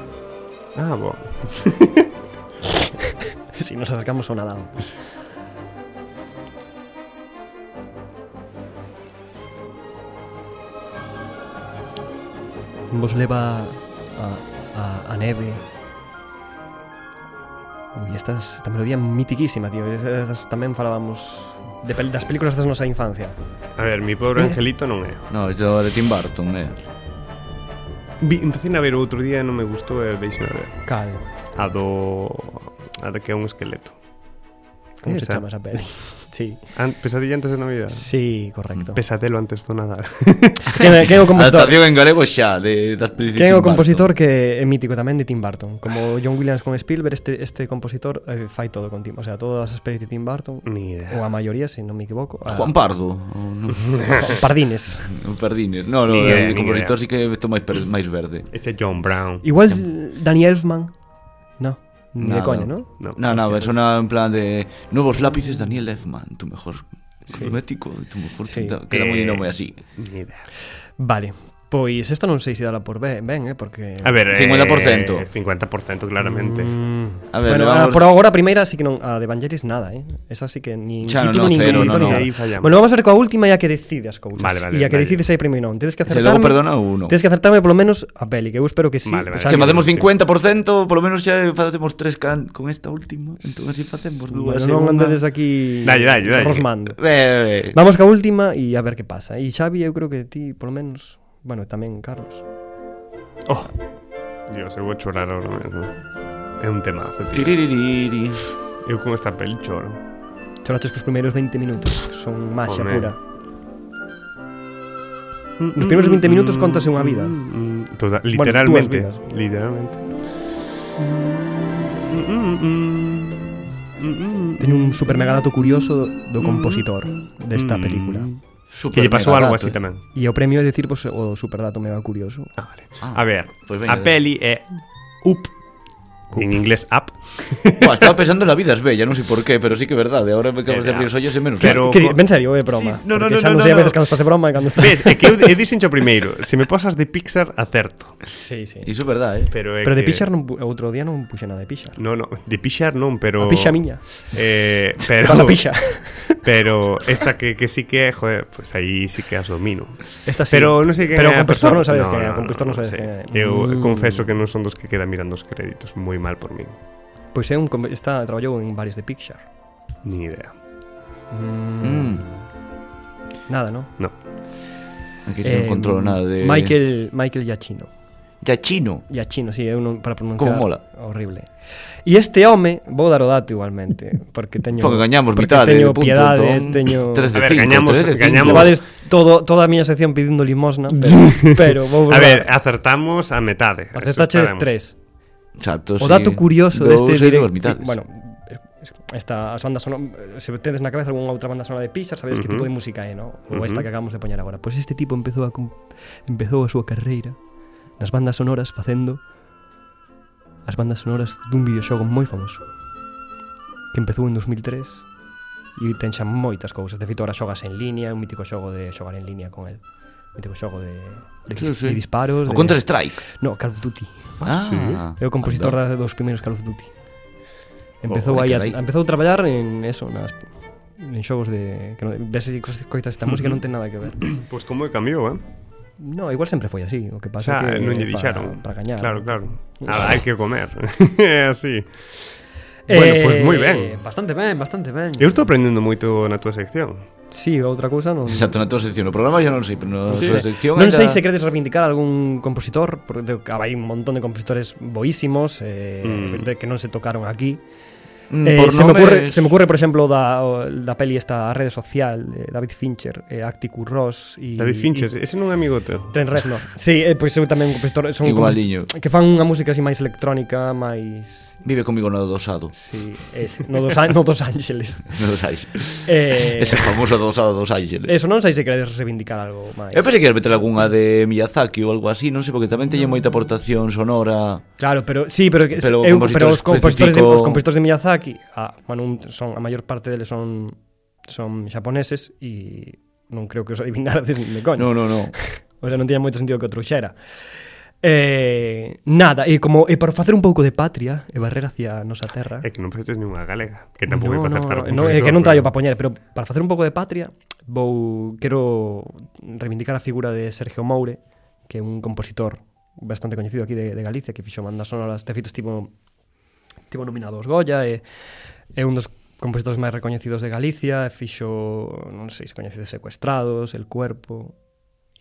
Ah, bo.
(laughs) si nos acercamos a un Nadal. Vos leva a, a, a neve. Ui, esta, es- esta melodía mitiquísima, tío. Esas tamén falábamos de pel das películas das nosa infancia.
A ver, mi pobre angelito non é.
No, isto é de Tim Burton, eh.
Vi, empecé a ver o outro día e non me gustou e deixen a ver.
Cal.
A do... A de que é un esqueleto.
Como se
Esa.
chama esa peli? sí.
An pesadilla antes de Navidad.
Sí, correcto.
Pesadelo antes do Nadal.
Quen é- quen é o compositor?
(laughs) Adaptación en galego xa, de, das pelis de
Que é
Tim
o
Burton.
compositor que é mítico tamén de Tim Burton Como John Williams con Spielberg Este, este compositor eh, fai todo con Tim O sea, todas as pelis de Tim Burton
Ni idea.
Ou a maioría, se non me equivoco a,
Juan Pardo. ou
(laughs)
non?
Juan Pardines
Perdines. No, no,
Ni idea,
o
ni
compositor
idea.
sí que estou máis per- máis verde.
Ese John Brown.
Igual Danny Elfman No, ni
No,
de coña,
no.
non?
No,
No, no,
hostia,
persona en plan de nuevos lápices Daniel Elfman, tu mejor cosmético, tu mejor
Sí.
tinta, queda
Eh,
moi nome así.
Ni idea.
Vale, pois esta non sei se dala por ben, ben eh, Mm. porque...
A ver, eh,
50%.
50% claramente.
A ver,
bueno,
vamos-
a- por agora a primeira sí que non a de Evangelis nada, eh. Esa sí que ni
Xa, no, no,
título, nin
cero,
crédito,
no,
nin
no.
nada.
Aí fallamos.
Bueno, vamos a ver coa última e a que decide as cousas.
Vale, vale,
e a que
vale.
decides aí primeiro non. Tens que
Se logo
acertarme.
perdona uno.
Tens que acertarme polo menos a peli, que eu espero que sí.
Vale, vale.
Se
Sí,
facemos
sí.
50%, por lo menos xa facemos tres can con esta última, entón así facemos dúas.
bueno, non andedes aquí
Dalle, dalle, dalle.
rosmando.
Eh,
Vamos ca última e a ver que pasa. E Xavi, eu creo que ti, polo menos, bueno, tamén Carlos.
Oh. Dios, eu vou chorar ahora mesmo. É un temazo, tío.
Tiriririri.
Eu con esta peli choro.
Choraches cos primeiros 20 minutos, que son maxia
Home.
pura. Nos primeiros 20 minutos contase unha vida.
Mm, toda-
Bueno,
literalmente.
dúas vidas.
literalmente.
Teño un super megadato curioso do compositor desta
Mm.
película.
Que lle pasou algo
Supermegadato,
así
eh.
tamén.
E o premio é dicirvos o superdato mega curioso.
Ah, pues vale.
Ah,
a ver,
pois veña,
a
veña.
peli é Up. En inglés, Up. (laughs)
Buah, estaba pensando en la vida es bella, non sei por qué, pero sí que é verdade, agora me acabas de
Era.
abrir os ollos e menos.
Pero-
Que, en serio, é broma.
Sí, no, no,
Porque
no,
xa
no,
non sei
no,
a veces
no.
cando estás de broma e cando estás...
Ves, eh, é que eu, eu dixencho primeiro, se me pasas de Pixar, acerto.
(laughs) Sí, sí.
Iso é verdade, eh.
Pero, é
Pero de
que...
Pixar non, pu- outro día non puxe nada de Pixar.
No, no, de Pixar non, pero...
A pixa miña. (laughs)
Eh, pero...
Cando pixa.
(laughs) Pero esta que, que sí que é, joder, pues aí sí que as domino.
Esta Ah, sí.
Pero non sei que
Pero
é a
compositor
persoa-
non sabes quen é, compositor non sabes
sei.
quen é.
Eu
Mm.
confeso que non son dos que queda mirando os créditos, moi mal por min.
Pois é un com- está traballou en varios de Pixar.
Ni idea.
Mm.
Nada, non?
No.
Aquí non controlo
Eh,
nada de
Michael Michael Giacchino.
Ya chino.
Giacchino, sí, é un para pronunciar.
Como mola.
Horrible. E este home, vou dar o dato igualmente, porque teño
Porque gañamos
porque
mitade de
teño
punto,
piedade,
entón.
teño
(laughs) Tres de
A ver,
cinco,
gañamos-
tres de cinco.
gañamos-
Levades todo, toda a miña sección pedindo limosna, pero,
(laughs)
pero vou
A ver, acertamos a metade. eso
Acertaches
estaremos.
Oh, tres.
Exacto,
este
O dato curioso deste
directo.
director, bueno, esta, as bandas sonoras, se tedes na cabeza algunha outra banda sonora de Pixar, sabedes uh -huh. que tipo de música é, no? Ou esta que acabamos de poñer agora. Pois este tipo empezou a com- empezou a súa carreira nas bandas sonoras facendo as bandas sonoras dun videoxogo moi famoso que empezou en 2003 e ten xa moitas cousas. De feito, ahora xogas en línea, un mítico xogo de xogar en línea con el. Mítico xogo de, de,
Sí,
dis-
sí.
de disparos.
O
de-
Counter Strike.
No, Call of Duty.
Ah,
É o compositor
anda.
da- dos primeiros Call of Duty. Empezou
Oh,
aí, a,
carai.
empezou a traballar en eso, nas en xogos de que non, ves e cosas coitas esta música non ten nada que ver.
Pois como é cambiou, eh?
No, igual sempre foi así, o que
O
pasa
sea,
que
non lle
pa-
dixeron.
para gañar.
Claro, claro. Nada, hai que comer. (laughs) é así.
Eh,
bueno, pues pois moi ben.
Bastante ben, bastante ben.
Eu estou aprendendo moito na túa sección.
Si, sí, outra cousa non
Exacto, Pues, eh, na tua sección. O programa xa non sei, pero na
Sí.
tua sección...
non
ella-
sei se queredes reivindicar algún compositor, porque te- hai un montón de compositores boísimos eh,
Mm.
de- que non se tocaron aquí.
Mm,
Eh,
por
se, me ocurre,
nomes-
se me ocurre, por ejemplo, da, o- da peli esta Red Social, eh, David Fincher, eh, Arctic Ross y...
David Fincher,
y-
ese non é amigo teu.
Trent
(laughs)
Reznor. Sí, eh, pois eu tamén compositor, son
Igualiño.
compos- que fan unha música así máis electrónica, máis
Vive comigo no dosado. (laughs)
sí, ese, no dos An- no dos Ángeles.
No dos Ángeles.
(laughs) Eh,
Ese famoso dosado dos Ángeles.
eso non sei se queredes reivindicar algo máis.
Eu pensei que ibas meter algunha de Miyazaki ou algo así, non sei, porque tamén teñe moita aportación sonora.
Claro, pero sí, pero, que-
Pero o
eu-
compositor
pero os compositores de,
específico-
os compositores de Miyazaki, a, bueno, un- son a maior parte deles son son xaponeses e non creo que os adivinarades nin de coña.
No, no,
(laughs)
no.
O sea, non tiña moito sentido que o trouxera. Eh, nada, e como e para facer un pouco de patria e barrer hacia a nosa terra.
É que non faces nunha galega, que tampouco é
no,
para
no,
acertar o
no, é que
compositor,
non traio
pero-
para poñer, pero para facer un pouco de patria vou quero reivindicar a figura de Sergio Moure, que é un compositor bastante coñecido aquí de, de Galicia, que fixo bandas sonoras, de feito estivo tivo nominado aos Goya e é un dos compositores máis recoñecidos de Galicia, e fixo, non sei se coñecedes Secuestrados, El Cuerpo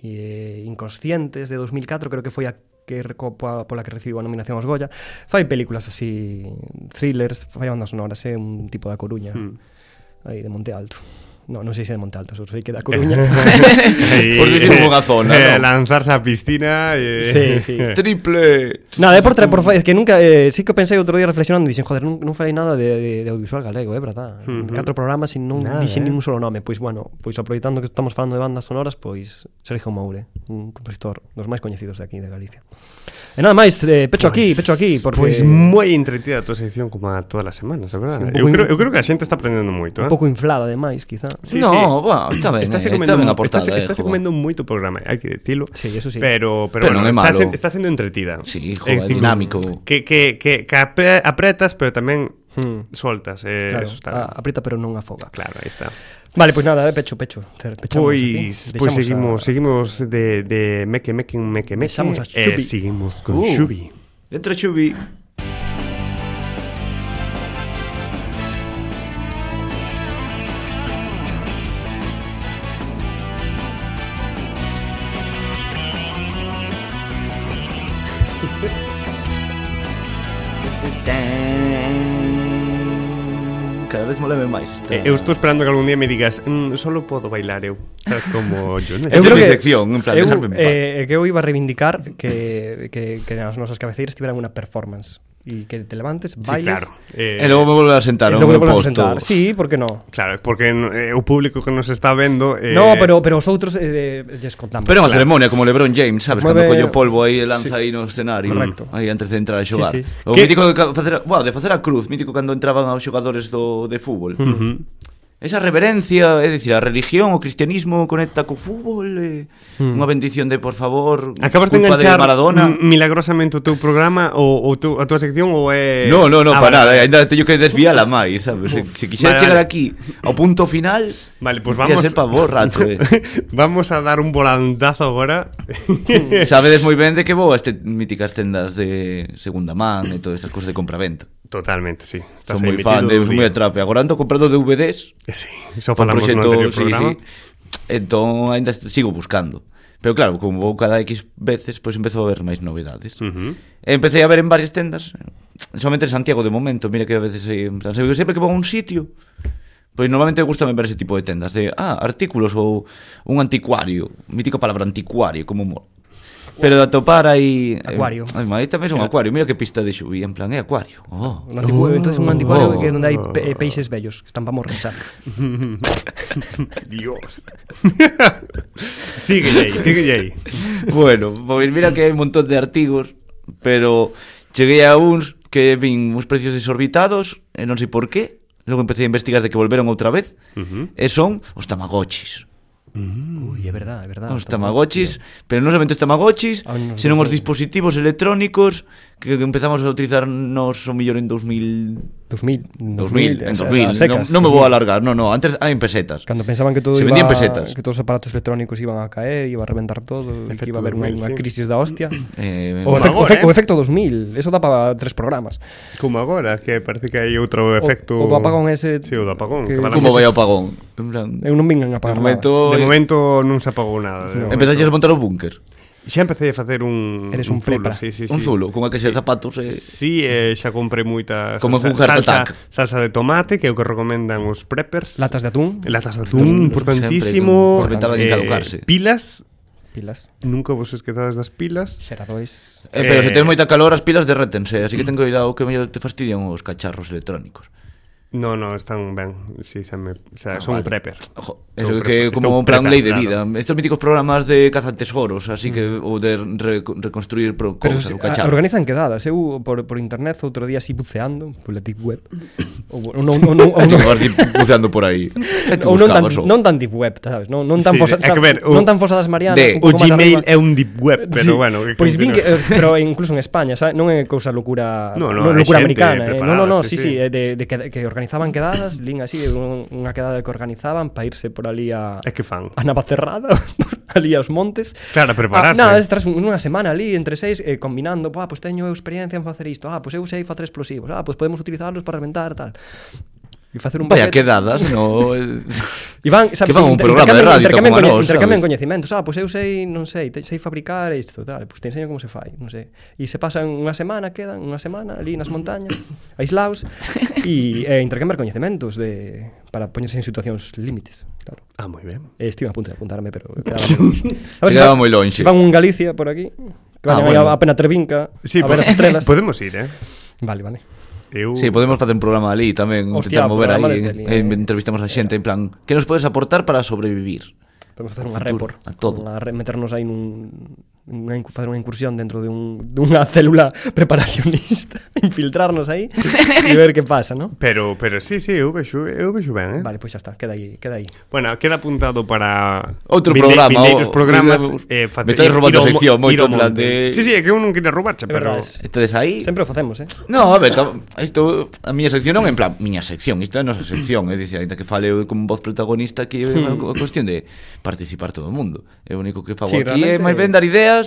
e eh, Inconscientes de 2004, creo que foi a que recopa pola que recibiu a nominación aos Goya. Fai películas así, thrillers, fai bandas sonoras, é un tipo da Coruña,
Hmm.
aí de Monte Alto. No, non sei se é de Monte Alto, só sei que da Coruña.
Aí,
Por dicir unha
(laughs)
zona,
eh,
non?
Lanzarse á piscina e...
Sí,
(laughs)
sí.
Triple.
Nada, é por traer por fa- es que nunca eh, sí que o pensei outro día reflexionando e dixen, joder, non, non falei nada de, de, de audiovisual galego, é eh, verdad. Uh
Ujú.
-huh. Catro programas e non
Nada,
nada,
eh.
dixen eh? ningún solo nome, pois bueno, pois aproveitando que estamos falando de bandas sonoras, pois Sergio Moure, un compositor dos máis coñecidos de aquí de Galicia. E nada máis, eh, pecho aquí, pecho aquí, porque
Pois moi Pues entretida a tua sección como a todas as semanas, a verdade.
Sí, un
eu,
pouco
creo,
in-
eu creo que a xente está aprendendo moito, eh?
un pouco inflada ademais, quizá.
Sí,
no,
sí.
bueno, está ben.
Estáse
eh, está ben a portada,
estáse-
eh,
estáse
jo.
comendo moito programa, hai que decirlo.
Sí, eso sí.
Pero, pero,
Pero
bueno,
non é
está,
malo.
sen- está sendo entretida.
Sí, jo,
É
é
dicir,
dinámico.
Que, que, que, que apre- apretas, pero tamén
Hmm.
soltas. Eh,
Claro, Ah,
eso está
a, aprieta pero non afoga.
Claro, aí está.
Vale, pois nada, eh, pecho, pecho. cer- Pechamos
Pois,
aquí.
pois
Deixamos
seguimos,
a-
seguimos de, de meque, meque, meque, meque.
Deixamos a
e
Xubi.
seguimos con
Uh.
Xubi.
Dentro Chubi. Cada vez moleme máis. esta-
Eh, eu estou esperando que algún día me digas mm, solo podo bailar eu. Sabes como yo, non?
Eu
Eu
creo
que...
que- sección, en plan,
eu,
deixadme en paz.
eh, que eu iba a reivindicar que, que, que as nosas cabeceiras tiveran unha performance e que te levantes,
Sí,
bailes
claro.
E
Eh,
logo me volve a sentar
e
no
logo te
meu
volves a
posto.
sentar. Sí, por que non?
Claro, porque eh, o público que nos está vendo... Eh,
No, pero, pero os outros eh, eh, lles contamos.
Pero é unha ceremonia como LeBron James, sabes,
Mueve-
cando colle o polvo aí e lanza aí no escenario.
Correcto.
Aí antes de entrar a xogar.
Sí, sí.
O
Que-
mítico de ca- facer, bueno, de facer a cruz, mítico cando entraban aos xogadores do de fútbol.
Ujú.
Esa reverencia, é dicir, a religión, o cristianismo conecta co fútbol, eh, unha bendición de por favor,
Hmm. Acabas de
culpa
enganchar
de Maradona.
mm, milagrosamente o teu programa ou, ou teu, a tua sección ou é...
No, no, no,
Ah,
para nada,
vale.
eh, ainda teño que desviala máis, sabes? Se, se quixera
Vale,
chegar
vale.
aquí ao punto final,
Vale, pues
ia
vamos...
ser pa vos rato, eh.
(laughs) vamos a dar un volantazo agora.
sabedes moi ben de que vou a este míticas tendas de segunda man e todas estas cousas de compraventa.
Totalmente, sí. Estás
Son
aí
moi
metido
fan de
do
son moi
día.
atrape. Agora ando comprando DVDs.
Eh, Sí, só
con
falamos no anterior
sí,
programa.
sí. Entón aínda est- sigo buscando. Pero claro, como vou cada X veces, pois empezo a ver máis novidades.
Ujú.
E Empecé a ver en varias tendas, somente en Santiago de momento, mira que a veces eh, en plan, sempre sempre que vou a un sitio, pois normalmente gustame ver ese tipo de tendas de, ah, artículos ou un anticuario, mítica palabra anticuario, como mola. Pero de atopar aí... eh,
Acuario.
Ai, mas aí tamén son acuario. Mira que pista de xubí, en plan, é acuario. Oh.
Un anticuario, entonces un
Oh.
anticuario que donde hay pe- eh, peixes bellos, que están para morrechar.
Dios. (laughs) sigue aí, sigue aí.
(laughs) bueno, pois mira que hai un montón de artigos, pero cheguei a uns que vin uns precios exorbitados, e non sei por qué, logo empecé a investigar de que volveron outra vez,
Ujú.
e son os tamagotchis.
Uy, é verdad, é verdad.
Os tamagotchis, pero non somente os tamagotchis,
Ai, non
senón
sei.
os dispositivos electrónicos que que empezamos a utilizar nos o millor en 2000
2000,
2000, en
eh,
2000,
a secas,
non, non me vou a
2000.
alargar, non, non, antes ah, en pesetas.
Cando pensaban que todo
Se
iba,
vendían pesetas.
que todos os aparatos electrónicos iban a caer, iba a reventar todo, e que iba a haber unha,
2000,
unha
sí.
crisis da hostia.
Eh,
O,
Como
efecto, o,
agora,
efecto,
eh.
o efecto 2000, eso dá para tres programas.
Como agora, que parece que hai outro
O-
efecto...
o do apagón ese-
Sí, o do apagón.
que-
Que, van a
como
ser-
vai ao pagón? En plan,
Eu non vingan a
de
pagar nada.
momento,
De momento non se apagou nada. de
No.
momento.
empezaches a montar o búnker.
Xa empecé a facer un...
Eres un
zulo,
prepra.
Sí, sí, sí.
Un zulo, con a caixa de zapatos e...
Sí, eh, xa comprei moita
Como
salsa,
un heart
salsa,
attack.
salsa de tomate, que é o que recomendan os preppers.
Latas de atún,
Latas de atún, importantísimo. Eh,
Sempre, con- por evitar alguén caducarse.
pilas,
pilas,
nunca vos esquezades das pilas.
xeradores,
Eh, pero se
Eh,
tens moita calor as pilas derrétense, así que ten cuidado que mellor te fastidian os cacharros electrónicos.
No, no, están ben. Sí, se me, o sea, son
Ah, vale.
prepper.
Ojo,
Son
eso
prepper.
que como
Estou
un plan
prepper,
lei de
claro.
vida. Estos míticos programas de cazatesoros, así que ou de re- reconstruir pro
Pero ah,
cousas,
se,
o
a,
cacharro. (laughs)
organizan quedadas, eu por, por internet outro día así buceando, pola deep web. ou ou non, ou non,
(laughs)
ou
Hai que
non,
vas di- buceando por aí.
(laughs)
É que
ou non tan,
buscabas, o-
non tan deep web, sabes? Non, non
Sí,
tan fosa,
é que ver, o-
non tan fosa das Marianas,
de-
un
O
pouco máis
Gmail é
arriba.
un deep web, pero
Sí,
bueno, que
pois vin que,
continúa. (laughs)
eh, pero incluso en España, sabe? non é cousa locura,
No, no,
no, no,
hai xente
locura americana, eh?
preparada,
no, no, no,
sí, sí.
sí, sí, eh, de, de que, que organizaban quedadas, lin así, un- unha quedada que organizaban para irse por ali a
É que fan.
a (laughs) Navacerrada, por ali aos montes.
Claro, prepararse.
Ah, nada, es tras un- unha semana ali, entre seis, eh, combinando, "Buah, pois teño eu experiencia en facer isto, ah, pois eu sei facer explosivos, ah, pois podemos utilizarlos para reventar, tal. E facer un
Vaya
paquete.
quedadas, no...
(laughs)
eh,
E van,
Que
sabes,
van a un
inter-
programa de
intercambian-
radio como
intercambian,
a
coñe-
nós,
intercambian
sabes?
coñecimentos. Ah, pois eu sei, non sei, te, sei fabricar isto, tal, pois te enseño como se fai, non sei. E se pasan unha semana, quedan unha semana ali nas
(laughs)
montañas, aislaos, e eh, intercambiar coñecimentos de, para poñerse en situacións límites, claro.
Ah, moi ben.
Eh, Estive a punto de apuntarme, pero
(laughs)
quedaba moi lonxe. A ver se
Quedaba
fa-
moi lonxe.
se Fan un Galicia por aquí, que
Ah,
vayan aí
bueno.
a pena Trevinca,
Sí,
a
po-
ver as estrelas.
Podemos ir, eh?
Vale, vale.
Eu...
Sí, podemos facer un programa ali tamén, intentar
Hostia,
mover
programa
aí,
desde
eh,
ali,
eh,
eh.
entrevistamos a xente, en plan, que nos podes aportar para sobrevivir?
Podemos facer unha
Futuro,
repor.
a todo.
Unha re, meternos aí nun unha incu- facer unha incursión dentro de un, dunha (laughs) célula preparacionista, (laughs) infiltrarnos aí e ver que pasa, ¿no?
Pero, pero sí, sí, eu vexo, eu vexo ben, eh?
Vale, pois pues xa está, queda aí, queda aí.
Bueno, queda apuntado para
Outro
vinde-
programa,
vindeiros
o-
programas
vindeiros-
eh, facer-
Me estáis
ir-
roubando
ir ao mo-
sección,
ir
moito
ao
en plan
monte.
de-
Sí, sí, é que eu non queria roubarche,
É
pero
verdade, sí.
Estedes aí?
Sempre o facemos, eh?
No, a ver, tam- isto a miña sección non é en plan miña sección, isto é a nosa sección, é dicir, aínda que fale eu con voz protagonista aquí é unha cu- cuestión de participar todo o mundo. É o único que fago
Sí,
sí, aquí é
realmente-
máis ben dar ideas.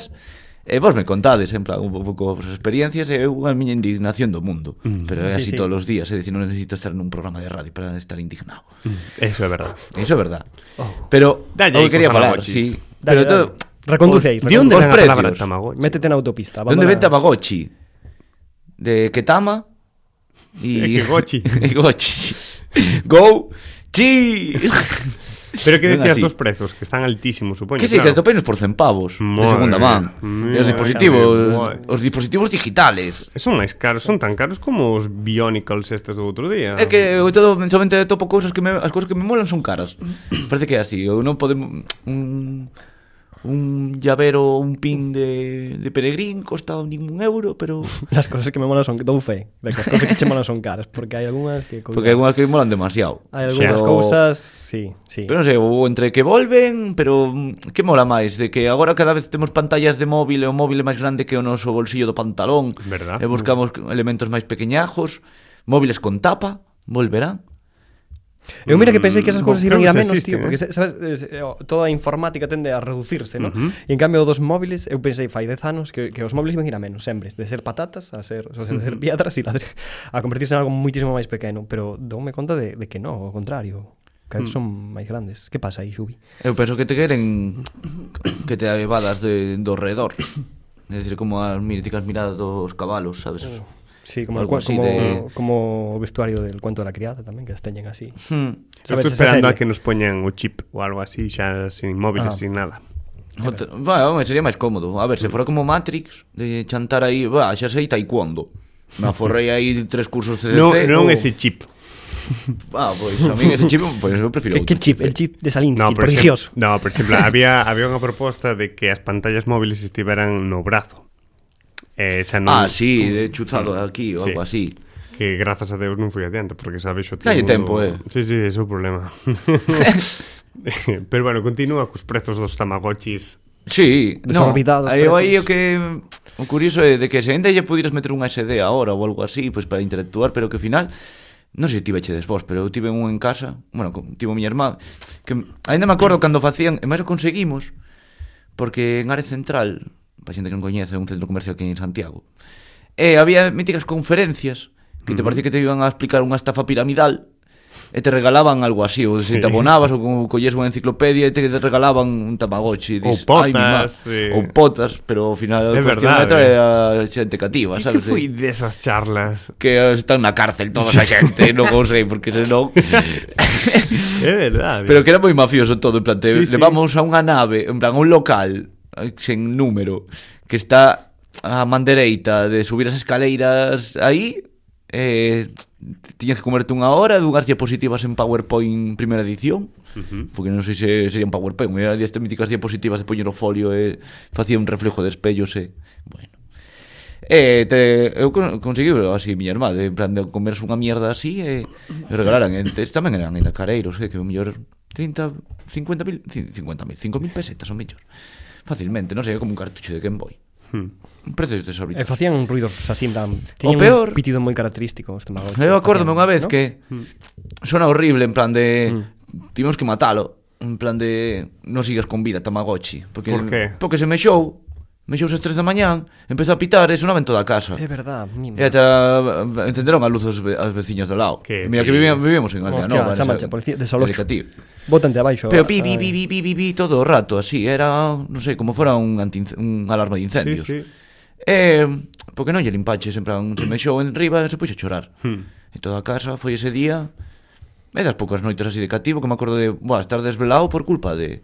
E vos me contades, en plan, un pouco as experiencias e eu a miña indignación do mundo. Mm. Pero é así sí,
Sí, sí.
sí. todos os días, é dicir, non necesito estar nun programa de radio para estar indignado.
Mm, Eso é verdad.
Iso é verdad. Oh. Pero,
Dalle
o
aí
que quería
cos
falar,
tamagotchis.
sí. pero
Dale, dale. Reconduce aí,
De onde
Os
ven a
precios.
palabra Tamagotchi?
Métete na autopista.
¿Dónde
abandona-
ven Tamagotchi? De
(laughs)
Ketama y.
Eh, que Gochi.
(laughs) y Gochi. Go. Chi.
Pero que
Ven
decías
así.
dos prezos, que están altísimos, supoño.
Que sí, que atopéis por 100 pavos
Madre
de segunda man.
mía,
E os dispositivos,
madre.
os dispositivos digitales.
Son máis caros, son tan caros como os Bionicles estes do outro día.
É que eu todo somente topo cousas que me, as cousas que me molan son caras. (clears throat) Parece que é así, eu non podemos un un llavero, un pin de, de peregrín costa ningún euro,
(laughs)
pero
Las cosas que me molan son... Dou fe. De que as cosas que che molan son caras, porque hai algunhas que...
porque hai algunhas que me molan demasiado.
Hai algunhas
Pero-
cousas... Sí, sí.
Pero non sei, ou entre que volven, pero mm, que mola máis de que agora cada vez temos pantallas de móvil e o móvil é máis grande que o noso bolsillo do pantalón.
Verdad.
E buscamos elementos máis pequeñajos, móviles con tapa, volverán.
Eu mira que pensei que esas
Mm,
cousas
creo
iban a ir
que
a
se
menos,
existe,
tío,
eh.
porque se- sabes, es- eh, o- toda a informática tende a reducirse, ¿no? E en cambio dos móviles, eu pensei fai 10 anos que, que os móviles iban a ir a menos sempre, de ser patatas a ser, a ser, ser piedras e ladre, a convertirse en algo muitísimo máis pequeno, pero doume conta de, de que non, ao contrario, cada vez
Mm.
son máis grandes. Que pasa aí, Xubi?
Eu penso que te queren que te avevadas de, do redor. É dicir, como as míticas miradas dos cabalos, sabes?
Eh.
Sí, como,
Algo
como,
así
como,
de-
como o vestuario del cuento de la criada tamén, que as teñen así.
Hmm.
Eu
Sabes,
estou
esa
esperando a
serie?
que nos poñan o chip ou algo así, xa sin móviles,
Ah.
sin nada.
Outra, bah, home, sería máis cómodo. A ver, se fora como Matrix, de chantar aí, bah, xa sei taekwondo. Me aforrei aí tres cursos CCC.
Non, non
ou-
ese chip.
Ah, pois, a mí ese chip, pois eu prefiro
Que, que
outro.
chip, el chip de Salinsky,
por exemplo-
prodigioso.
no, por
(laughs)
exemplo, había, había unha proposta de que as pantallas móviles estiveran no brazo. Eh, xa non,
Ah, sí, de chuzado aquí
Sí.
ou algo así.
Que grazas a Deus non foi adiante, porque sabes o
Dalle tempo, eh.
Sí, sí, ese é o
(laughs)
problema. Pero bueno, continúa cos prezos dos Tamagotchis.
Sí,
Desorbitados
aí aí
prezos.
o que o curioso é de que se ainda lle pudieras meter un SD agora ou algo así, pois para interactuar, pero que ao final non sei se tive che despois, pero eu tive un en casa, bueno, co- tivo miña irmá, que ainda me acordo cando facían, e máis o conseguimos, porque en Área Central, para xente que non coñece, é un centro comercial que hai en Santiago, e había míticas conferencias que te parecía que te iban a explicar unha estafa piramidal e te regalaban algo así, ou se te abonabas ou como collías unha enciclopedia e te regalaban un tamagotchi.
Ou
dis, "Ai, mi má",
potas, eh.
Ou potas, pero ao final
É
a cuestión
verdade.
é traer a xente cativa,
Que, que
sabes?
foi desas charlas?
que están na cárcel toda
(laughs)
a xente, non o sei, porque senón...
É verdade.
Pero que era moi mafioso todo, en plan, te
Ah, Sí, sí.
levamos a unha nave, en plan, a un local eh, sen número, que está a mandereita de subir as escaleiras aí, eh, tiñas que comerte unha hora dunhas diapositivas en PowerPoint primeira edición, uh -huh. porque non sei se serían PowerPoint, eran estas míticas diapositivas de poñer o folio e facía un reflejo de espellos e... Bueno. E Eh, te, eu con, conseguí así miña irmá de, En plan de comerse unha mierda así E, e regalaran Entes tamén eran ainda careiros eh, Que o mellor 30, 50 mil 50 mil, 5 mil pesetas o mellor Facilmente, non sei, é como un cartucho de Game Boy
Hmm.
Un precio de
E
desorbitado
Eh, facían ruidos así, en plan, tiñan
peor-
un pitido moi característico os Tamagotchi.
Eu acórdome
Facían,
unha vez
¿no?
que Sona horrible, en plan de Tivemos que matalo En plan de Non sigas con vida, Tamagotchi porque,
Por qué?
Porque se mexou Mexou as 3 da mañán Empezou a pitar e sonaba en toda a casa
É verdad, mima.
Mm. E ata encenderon a luz os, ve- as veciños do lado.
Que
Que Mira que
dis.
vivíamos, vivíamos en Aldea
Hostia,
Nova.
chamanche, policía, de Solocho.
Educativo.
Bótante abaixo.
Pero
a-
pi, pi,
ai.
pi, pi, pi, pi, pi, todo o rato, así. Era, non sei, como fora un, anti, un alarma
sí,
de incendios.
sí.
Eh, porque non lle limpaches, en plan, se mexou en riba e se puxo a chorar.
Hmm.
E toda a casa foi ese día E das poucas noites así de cativo Que me acordo de Buah, estar desvelado por culpa de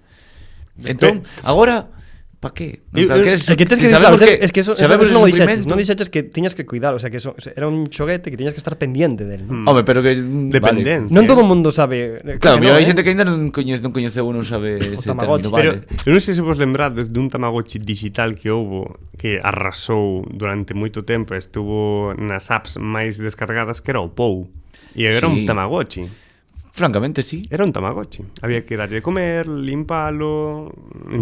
Entón, agora Pa que?
Eu- eu-
É que tens que
sabemos
disfrutar, es que eso, eso,
sabemos
eso
o
non o dixeches,
sufrimento.
non dixeches que tiñas que cuidar, o sea, que eso, o sea, era un xoguete que tiñas que estar pendiente del. ¿no?
Home, pero que mm,
Dependente.
Non todo o mundo sabe.
Vale. Claro, mira,
no,
hai
eh.
xente que ainda non coñece, non coñece ou non sabe ese
Tamagotchi.
Pero
término, vale.
eu non sei se vos lembrades dun Tamagotchi digital que houbo que arrasou durante moito tempo e estuvo nas apps máis descargadas que era o Pou. E era
Sí.
un Tamagotchi.
Francamente, sí.
Era un Tamagotchi. Había que darlle de comer, limpalo,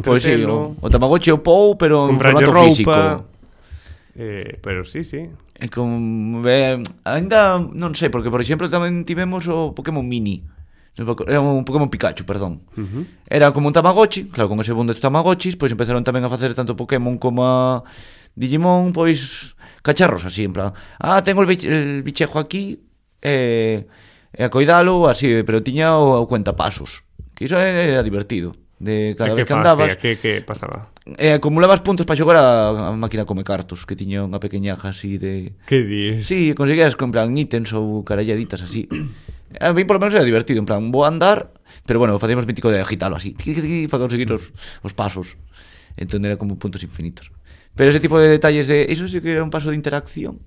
Pois sí,
entretelo,
o, o Tamagotchi o Pou, pero en
comprarlle
formato
roupa.
físico.
Eh, pero sí, sí.
É con eh, ainda non sei, porque por exemplo tamén tivemos o Pokémon Mini. Non me acor- Era un Pokémon Pikachu, perdón. Uh -huh. Era como un Tamagotchi, claro, con ese boom dos Tamagotchis, pois empezaron tamén a facer tanto Pokémon como a Digimon, pois cacharros así, en plan, ah, tengo el, bich el bichejo aquí, eh, e a coidalo, así, pero tiña o, o cuentapasos, que iso era divertido. De cada
E
vez
que
que andabas,
facía? que, que pasaba?
eh, acumulabas puntos para xogar a, a máquina come cartos, que tiña unha pequeñaja así de...
Que dis?
Sí, conseguías comprar ítems ou caralladitas así. (clears throat) A mí, polo menos, era divertido. En plan, vou a andar, pero bueno, facíamos mítico de agitalo así, tiqui, tiqui, tiqui, para conseguir os, os pasos. Entón era como puntos infinitos. Pero ese tipo de detalles de... Eso sí que era un paso de interacción,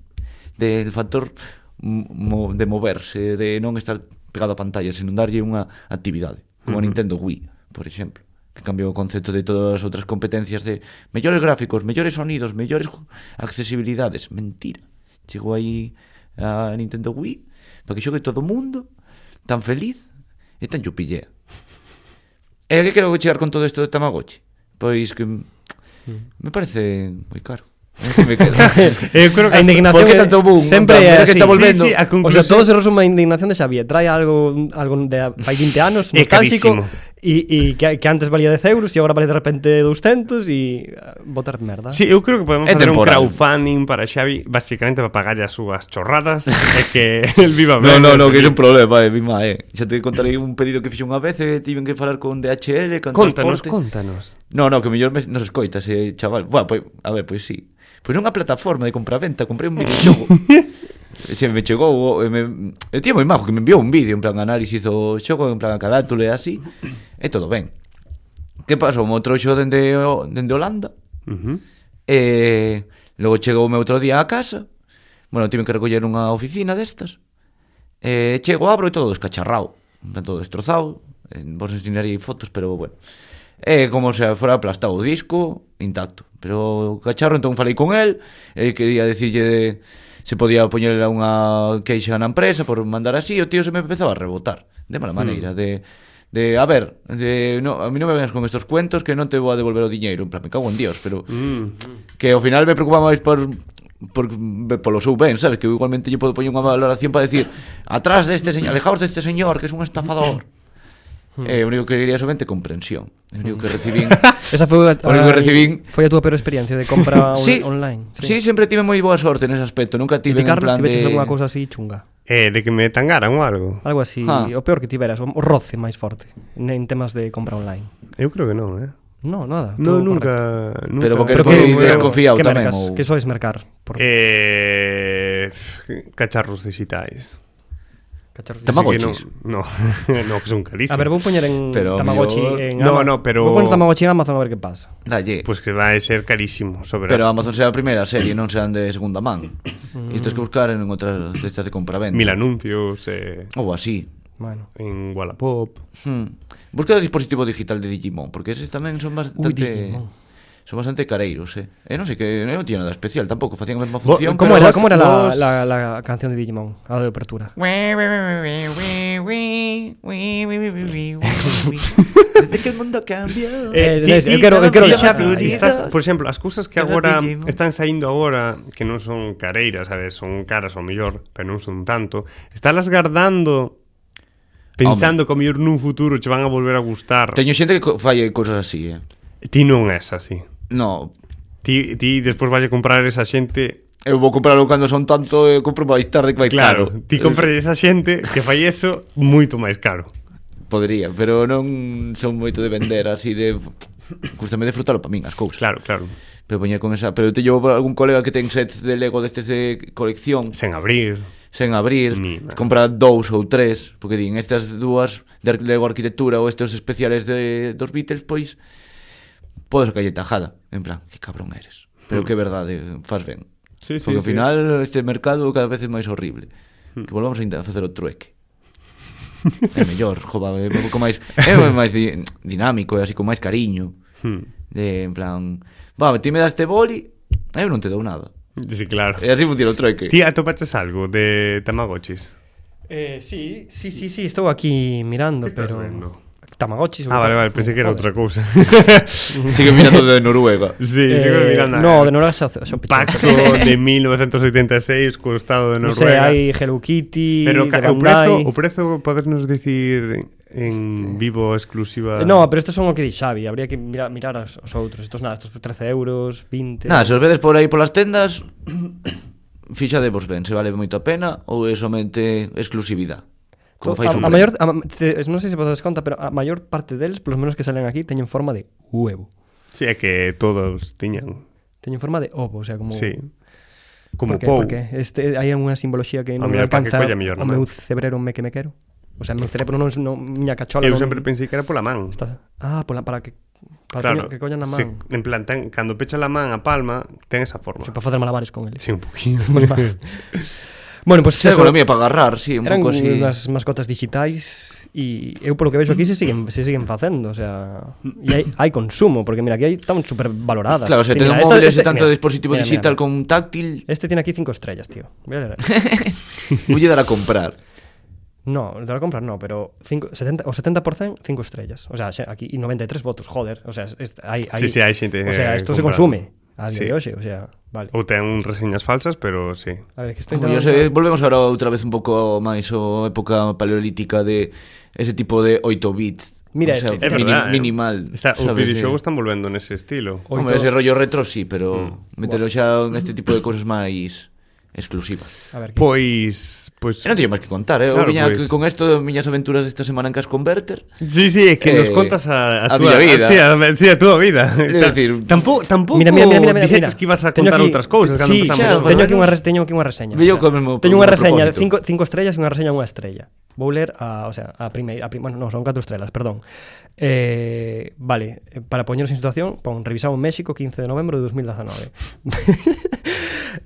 del factor m- mo- de moverse, de non estar pegado a pantalla, sino darlle unha actividade, como a Nintendo Wii, por exemplo que cambiou o concepto de todas as outras competencias de mellores gráficos, mellores sonidos, mellores ju- accesibilidades. Mentira. Chegou aí a Nintendo Wii para que xogue todo o mundo tan feliz e tan chupillea. E a que quero chegar con todo isto de Tamagotchi? Pois que me parece moi caro. Así me quedo.
Eu creo que hasta-
A indignación
¿Por qué
que
tanto boom? Hombre,
sempre é
mira
así.
que está volvendo.
Sí, sí, a
O sea,
conclusión-
todo se resume a indignación de Xavier. Trae algo, algo de hai 20 (laughs) anos,
É
nostálgico,
carísimo.
e, e que, que antes valía 10 euros e agora vale de repente 200 e ah, botar merda.
Sí, eu creo que podemos
É
facer
temporal.
un crowdfunding para Xavi basicamente para pagarlle as súas chorradas (laughs) e que el viva
(laughs) No,
ben.
no, no, que é un problema, eh, mima, eh. Xa te contarei un pedido que fixo unha vez e tiven que falar con DHL, con
Contanos,
transporte.
contanos.
No, no, que mellor me- nos escoitas, eh, chaval. Buah, pois, a ver, pois sí. Pois nunha plataforma de compraventa comprei un videoxogo. E Se me chegou, o- e me, eu tío moi majo que me enviou un vídeo en plan análisis do xogo, en plan a carátula e así. E todo ben. Que pasou? Un outro xo dende, o- dende Holanda
Ujú.
E logo chegoume outro día a casa Bueno, tive que recoller unha oficina destas E chego, abro e todo descacharrao Está todo destrozado Eh, Vos enseñarei fotos, pero bueno É como se fora aplastado o disco Intacto Pero o cacharro, entón falei con el E quería decirlle de, Se podía poñerle unha queixa na empresa Por mandar así, o tío se me empezaba a rebotar De mala maneira, de De, a ver, de, no, a mí non me vengas con estos cuentos que non te vou a devolver o diñeiro En plan, me cago en dios, pero que ao final me preocupa máis por por polo seu ben, sabes? Que eu igualmente lle podo poñer unha valoración para decir atrás deste señor, alejaos deste señor que es un estafador.
Hmm.
Eh, o único que quería somente comprensión. O único que
(laughs)
recibín
Esa foi a,
O único que recibín-
foi a túa peor experiencia de compra on, online.
(laughs) Sí. sempre tive moi boa sorte nese aspecto, nunca
Ti,
tive en plan
Carlos, tiveches
de
algunha cousa así chunga.
Eh, de que me tangaran ou algo.
Algo así,
Ja.
o peor que tiveras, o, o roce máis forte ne- en temas de compra online.
Eu creo que non, eh.
No, nada.
No,
todo correcto.
nunca, nunca.
Pero porque
Pero
todo
que,
Todo desconfiado
que
tamén,
mercas,
ou-
que sois mercar por
Eh, f- cacharros digitais.
cacharros.
Tama-
Así que
Tamagotchis.
Non, non, no, (laughs) que son carísimos.
A ver, vou poñer en
Pero
Tamagotchi
mellor-
en
No,
Ama-
no, pero-
Vou poñer Tamagotchi en Amazon a ver que pasa.
Dalle.
Pues que vai ser carísimo, sobre
Pero Amazon será a primeira serie, non serán de segunda man.
Hmm.
Isto es que buscar en outras destas de compraventa.
mil anuncios eh,
Ou así.
Bueno.
en Wallapop.
Hmm. Busca o dispositivo digital de Digimon, porque eses tamén son
Ui,
bastante...
Digimon.
son bastante careiros, eh. Eh, non sei que non tiña nada especial tampouco, facían a mesma
Bo-
función.
Como
pero
era,
vos-
como era
vos-
la, la, la canción de Digimon, a de apertura?
Desde que o mundo cambiou.
Eh,
ti-
des- eu
ti-
quero- eu quero-
ti xa
ah,
estás- por exemplo, as cousas que
Cada
agora
Digimon.
están saindo agora que non son careiras, sabes, son caras ao mellor, pero non son tanto, estálas gardando pensando que ao mellor nun futuro che van a volver a gustar.
Teño xente que co- fai cousas así, eh.
Ti non és así.
No,
Ti, ti despois vais a comprar esa xente
eu vou comprarlo cando son tanto e compro máis tarde que vai
Eh, Claro,
caro. Eh,
ti compras esa xente que fai eso moito máis caro.
Podería, pero non son moito de vender así de Gústame de frutalo para min as cousas.
Claro, claro.
Pero poñer con esa, pero te llevo algún colega que ten sets de Lego destes de colección
Sen abrir.
sen abrir,
Ni nada.
compra dous ou tres, porque din estas dúas de ar- Lego arquitectura ou estes especiales de dos Beatles, pois podes calle tajada, en plan, que cabrón eres. Pero que verdade, faz ben.
Sí, sí,
porque ao
sí. Hmm.
final este mercado cada vez é máis horrible. Que volvamos a intentar facer o trueque. é mellor, jova, é un pouco máis é máis di, dinámico, é así con máis cariño.
Hmm.
De, en plan, va, ti me das este boli, eu non te dou nada.
Sí, claro.
E así funciona o trueque.
Ti atopaches algo de Tamagotchis.
Eh, sí, sí, sí, sí, estou aquí mirando,
Que estás
pero...
vendo?
Tamagotchi.
Ah, vale, vale, pensei que era outra cousa. (laughs)
(laughs)
sí,
Sigue mirando
(laughs)
de Noruega.
sigo mirando.
Eh, No, de Noruega xa, xa
Un
(laughs)
Pacto de 1986 co Estado de
Non sei,
Noruega.
hai Hello Kitty,
Pero
de
ca- o prezo,
Bandai... Eh,
o prezo podernos dicir en vivo exclusiva.
Eh, No, pero estos son o que di Xavi, habría que mirar, mirar as- os outros. Estos nada, estos 13 euros, 20...
Nada, se os vedes por aí polas tendas (coughs) Fixa de vos ben, se vale moito a pena Ou é somente exclusividade Como
To-
fai
a,
un
a maior, a, ma- te- non sei se vos dades conta, pero a maior parte deles, polos menos que salen aquí, teñen forma de huevo.
Si é que todos tiñan.
Teñen forma de ovo, o sea, como...
Sí. Como
porque,
Pou.
porque este, hai unha simboloxía que non me
mellor pa que
alcanza
colla mellor,
o
non?
meu cerebro me que me quero. O sea, meu cerebro non, non miña cachola
Eu
non...
sempre pensei que era pola man.
Está... Ah, pola, para que... Para que, que collan na
se-
man. Sí.
en plan, ten, cando pecha la man a palma, ten esa forma.
Para facer malabares con eles. (laughs)
Sí, un poquinho. (laughs)
bueno, pois
Sí,
pues,
economía para agarrar, sí, un
Eran
pouco así
unhas mascotas digitais e eu polo que vexo aquí se siguen se siguen facendo, o sea, e hai, hai consumo, porque mira, aquí hai están super valoradas.
Claro, se
Sí,
ten un
mira,
móvil
esta-
ese
este-
tanto
mira,
dispositivo
mira,
digital
mira.
con táctil
Este tiene aquí cinco estrellas, tío. Mira, mira.
Voulle dar a
(laughs)
comprar
No, de la compra no, pero cinco, 70, o 70% cinco estrellas. O sea, xe- aquí y 93 votos, joder. O sea, es- es- hai, hai,
Sí, sí, hai xente,
O sea,
eh,
isto se
comprando.
consume. A día
Sí.
de hoxe, o sea, vale.
Ou ten reseñas falsas, pero sí.
A ver, que estoy
Yo
intentando-
se, volvemos ahora outra vez un pouco máis o época paleolítica de ese tipo de 8 bits
Mira
o sea,
este. É
mini-
verdad, eh.
minimal
Está, os
sabes,
videoxogos
de-
están volvendo nese estilo.
Oito-
Hombre, ese rollo retro sí, pero mm. metelo xa neste tipo de cousas máis exclusivas
A ver,
Pues
que...
Pois, pois
Eu non teño máis que contar, eh?
Claro,
Claro, viña
pois.
pues... con esto, miñas aventuras desta semana en Cas Converter.
Sí, sí, é que nos
Eh,
contas a, a,
a
túa
miña vida.
Sí, a, sí, a túa vida.
É dicir,
tampouco, tampouco
Mira, mira, mira, mira, mira,
dixeches
mira.
que ibas a
Teño
contar
aquí-
outras cousas cando
sí,
empezamos.
xa,
isto.
por
teño aquí
menos.
unha, res- teño aquí unha reseña.
Veo
o sea,
que mesmo-
teño unha
mesmo
reseña de
propósito.
cinco, cinco estrellas e unha reseña unha estrella. Vou ler a, o sea, a primeira, a prim, bueno, non, son catro estrelas, perdón. Eh, vale, eh, para poñeros en situación, pon revisado en México 15 de novembro de 2019. (laughs)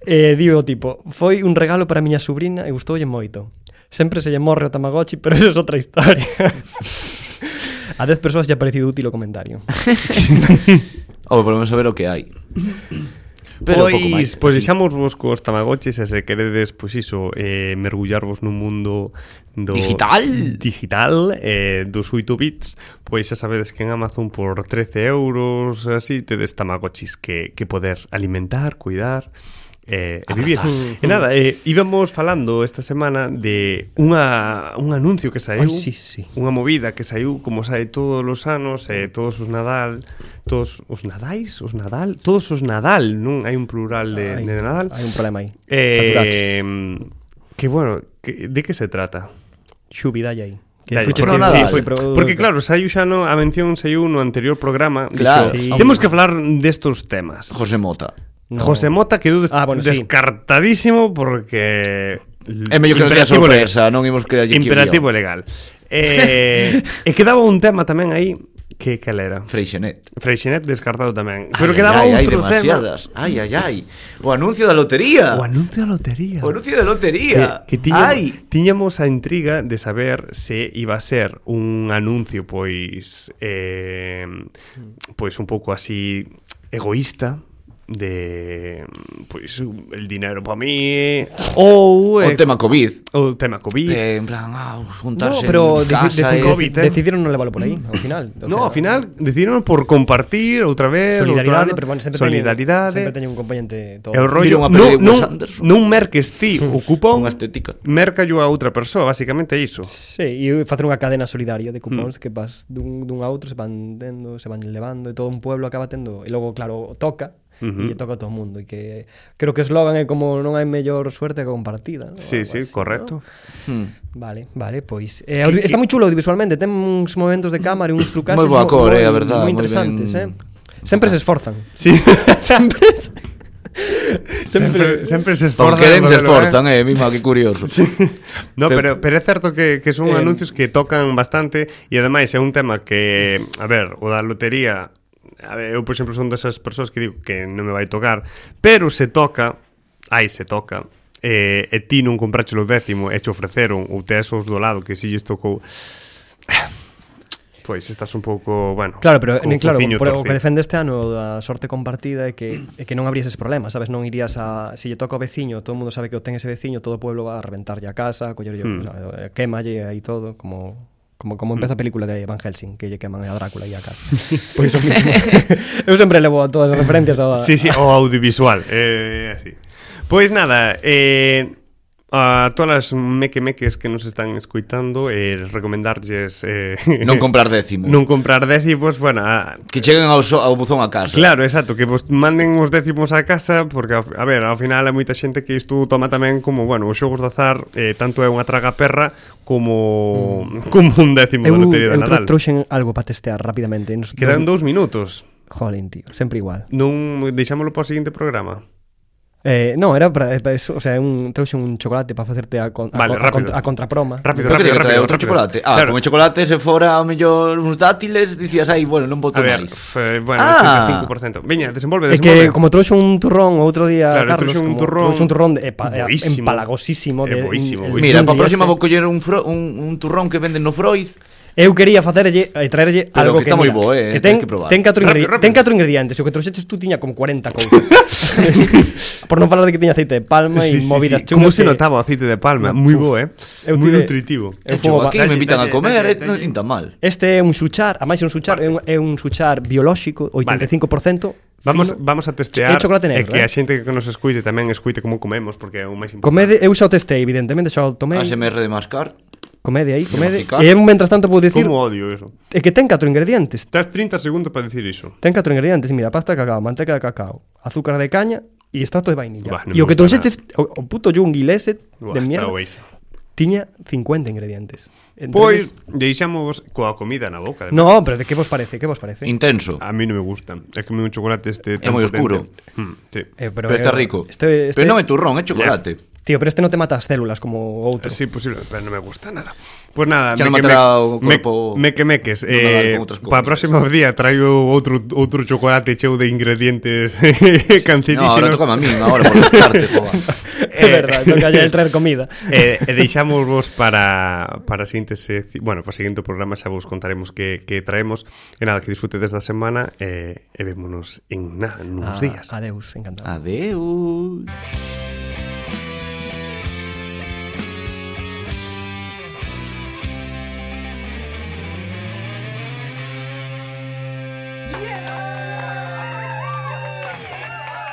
eh, digo tipo, foi un regalo para a miña subrina e gustoulle moito. Sempre se lle morre o Tamagotchi, pero eso é outra historia. (laughs) a 10 persoas lle ha parecido útil o comentario.
Ou volvemos a ver o que hai. Pero pouco máis.
Pois, pois
sí.
deixamos vos cos tamagotchis e se queredes, pois iso, eh, mergullarvos nun mundo do
Digital.
digital eh, dos 8 bits, pois xa sabedes que en Amazon por 13 euros así tedes tamagotchis que, que poder alimentar, cuidar eh, e vivir. E nada, eh, íbamos falando esta semana de unha, un anuncio que saiu
Ai, sí, sí.
unha movida que saiu como sae todos os anos, eh, todos os Nadal, todos os Nadais, os Nadal, todos os Nadal, non hai un plural de,
Ai,
de Nadal.
hai un problema aí.
Eh,
Saturax.
que bueno, que, de que se trata?
Xubi, dalle aí. Que
Dai,
fuches
porque,
pro
ti,
sí,
Nadal.
foi-
pro-
porque claro, saiu xa no, a mención saiu no anterior programa
Claro.
dixo,
Sí.
Temos que falar destos temas
José Mota.
No.
José Mota quedou des
Ah, bueno, sí.
descartadísimo porque
É
Imperativo
mellor que non teña
legal.
sorpresa, non imos crear aquí o
Imperativo
guión.
legal. Eh, (laughs) e quedaba un tema tamén aí que cal era.
Freixenet.
Freixenet descartado tamén. Pero
Ai,
quedaba
ai, ai,
outro tema.
hai demasiadas. Ai, ai, ai. O anuncio da
O
lotería.
anuncio da lotería.
O anuncio
que,
da lotería.
que tiñamos,
ai.
tiñamos a intriga de saber se iba a ser un anuncio pois eh, pois un pouco así egoísta de pois el dinero para mí ou
O tema COVID.
o tema covid
Eh, en plan, ah,
No,
juntarse
pero
en
deci-
casa
deci-
e-
COVID. eh.
decidieron non leválo por aí, ao final. O
No,
sea,
ao final decidieron por compartir outra vez,
Solidaridade,
outra,
pero bueno, sempre
solidaridade.
teñen, sempre teñen un componente todo.
E o rollo,
Mira unha peli de
non, non,
Wes Anderson.
non merques ti o cupón,
Unha estética.
mercallo a outra persoa, basicamente é iso.
Sí, e facer unha cadena solidaria de
Mm.
cupóns que vas dun, dun a outro, se van tendo, se van levando, e todo un pueblo acaba tendo, e logo, claro, toca,
Ujú.
e lle toca a todo o mundo, e que creo que o eslogan é como non hai mellor suerte que compartida, ¿no?
Sí,
Algo
sí,
así,
correcto.
Hmm.
¿no? Vale, vale, pois eh, audio- está moi chulo audiovisualmente, ten uns momentos de cámara e uns trucaxes
Moi boa
mo-
cor,
moi-
eh, a verdad,
moi
moi
interesantes, eh.
ben-
Sempre se esforzan.
Sí,
(laughs)
(laughs)
Sempre se-
sempre, sempre se esforzan.
Porque queren se
pero,
esforzan, eh, mima, que
(laughs)
curioso. Sí.
No,
Pero-
pero, pero é certo que, que son
Eh,
anuncios que tocan bastante e ademais é un tema que, a ver, o da lotería, a ver, eu por exemplo son desas persoas que digo que non me vai tocar, pero se toca, ai, se toca, eh, e ti non comprache o décimo e che ofreceron ou te esos do lado que si lles tocou (sighs) Pois estás un pouco, bueno
Claro, pero
co
eh, claro,
fociño
por, o que
torcido.
defende este ano da sorte compartida é que é que non habrías ese problema, sabes, non irías a se lle toca ao veciño, todo o mundo sabe que o ten ese veciño, todo o pueblo va a reventarlle a casa, a collerlle,
Hmm.
mm. sabes, eh, quémalle aí todo, como como como
Hmm.
empeza a película de Van Helsing, que lle queman a Drácula aí a
(laughs)
casa. pois o mismo. (laughs) Eu sempre levo a todas as referencias a
Sí, sí, o audiovisual, eh, así. Pois nada, eh, a todas as meque-meques que nos están escuitando, eh, recomendarlles... (laughs) Eh,
Non comprar décimo.
non comprar décimos, bueno, a,
Que cheguen ao, so, ao buzón a casa.
Claro, exacto, que vos manden os décimos a casa porque, a, a ver, ao final hai moita xente que isto toma tamén como, bueno, os xogos de azar eh, tanto é unha traga perra como, (laughs) como Mm. un décimo da
Eu,
lotería de
eu
Nadal.
tro- trouxen algo para testear rapidamente. e Nos,
Quedan dous minutos.
Jolín, tío, sempre igual.
Non deixámoslo para o seguinte programa.
Eh, no, era para, para eso, o sea, un, trouxen un chocolate para facerte a, con, a,
Vale,
con- a,
rápido.
contra- a contraproma.
Rápido,
Pero que
rápido,
tiña que traer
rápido.
outro
rápido.
chocolate. Ah,
Claro.
con el chocolate se fora ao mellor uns dátiles, dicías, ai, bueno,
A
non boto
ver,
máis.
f- bueno,
Ah.
85%. Veña, desenvolve,
É que
desenvolve.
como trouxe un turrón outro día,
Claro,
Carlos,
trouxe un
como
turrón
trouxe un turrón de, epa, eh,
boísimo.
empalagosísimo.
É
De,
boísimo,
el-
boísimo.
Mira,
el
para a próxima
este.
vou coller un, fro, un, un turrón que venden no Freud.
Eu quería facerlle e traerlle
Pero
algo
que
que,
está moi
mira,
bo, eh,
que ten,
tens que probar.
ten, catro
Rápido,
ingredi-
rápido.
ten catro ingredientes, o que trouxeches tú tiña como 40 cousas.
(laughs)
Por non falar de que tiña aceite de palma e movidas chungas.
Como se
que-
notaba o aceite de palma, moi bo, eh?
Eu
Moi
tive-
nutritivo.
Eu
Eu chego
fumo
aquí,
ba-
me invitan a
dalle,
comer,
dalle,
eh, non
dalle.
tan mal.
Este é un suchar, a máis é un suchar, é un, é un suchar biolóxico, 85%.
Vamos,
fino.
vamos a testear
É chocolate
e
negro,
que
eh?
a xente que nos escuite tamén escuite como comemos, porque é o máis importante.
Comede, eu xa o testei, evidentemente, xa o tomei.
ASMR de mascar.
Comede aí, comede.
masticar.
E eu, mentras tanto, vou dicir
Como odio eso.
é que ten catro ingredientes.
Tás 30 segundos para decir iso.
Ten catro ingredientes, mira, pasta de cacao, manteca de cacao, azúcar de caña e extracto de vainilla.
Bah, non
e
me
o que
gusta
trouxetes, o, o puto yungui lese
Buah,
de
está
mierda,
guais.
tiña 50 ingredientes.
Pois,
Entonces,
deixamos coa comida na boca. de-
No, pero de que vos parece? Que vos parece?
Intenso.
A mí non me gusta. É que un chocolate este
É moi
potente.
oscuro.
Mm, sí.
Eh,
Pero está rico.
Este, este,
Pero non é turrón, é chocolate.
Tío, pero este no te mata as células como outro. (laughs)
Sí, posible, pero no me gusta nada. Pues nada,
Xa non
me que
matará o corpo-
me, me que meques.
Non nadar
Eh,
con outras
para
comidas.
próximo día traigo outro outro chocolate cheu de ingredientes (laughs)
No,
cancerígenos.
ahora toca a mí, ahora
(laughs)
por descarte, joder.
É
Eh.
verdade, non calla el traer comida.
E, e Eh, deixamos vos para, para a seguinte sec- bueno, para o seguinte programa xa vos contaremos que, que traemos e nada, que disfrutedes da semana
Ah,
Ah,
e, e vémonos en nada, nuns días
A, adeus, encantado.
Adeus.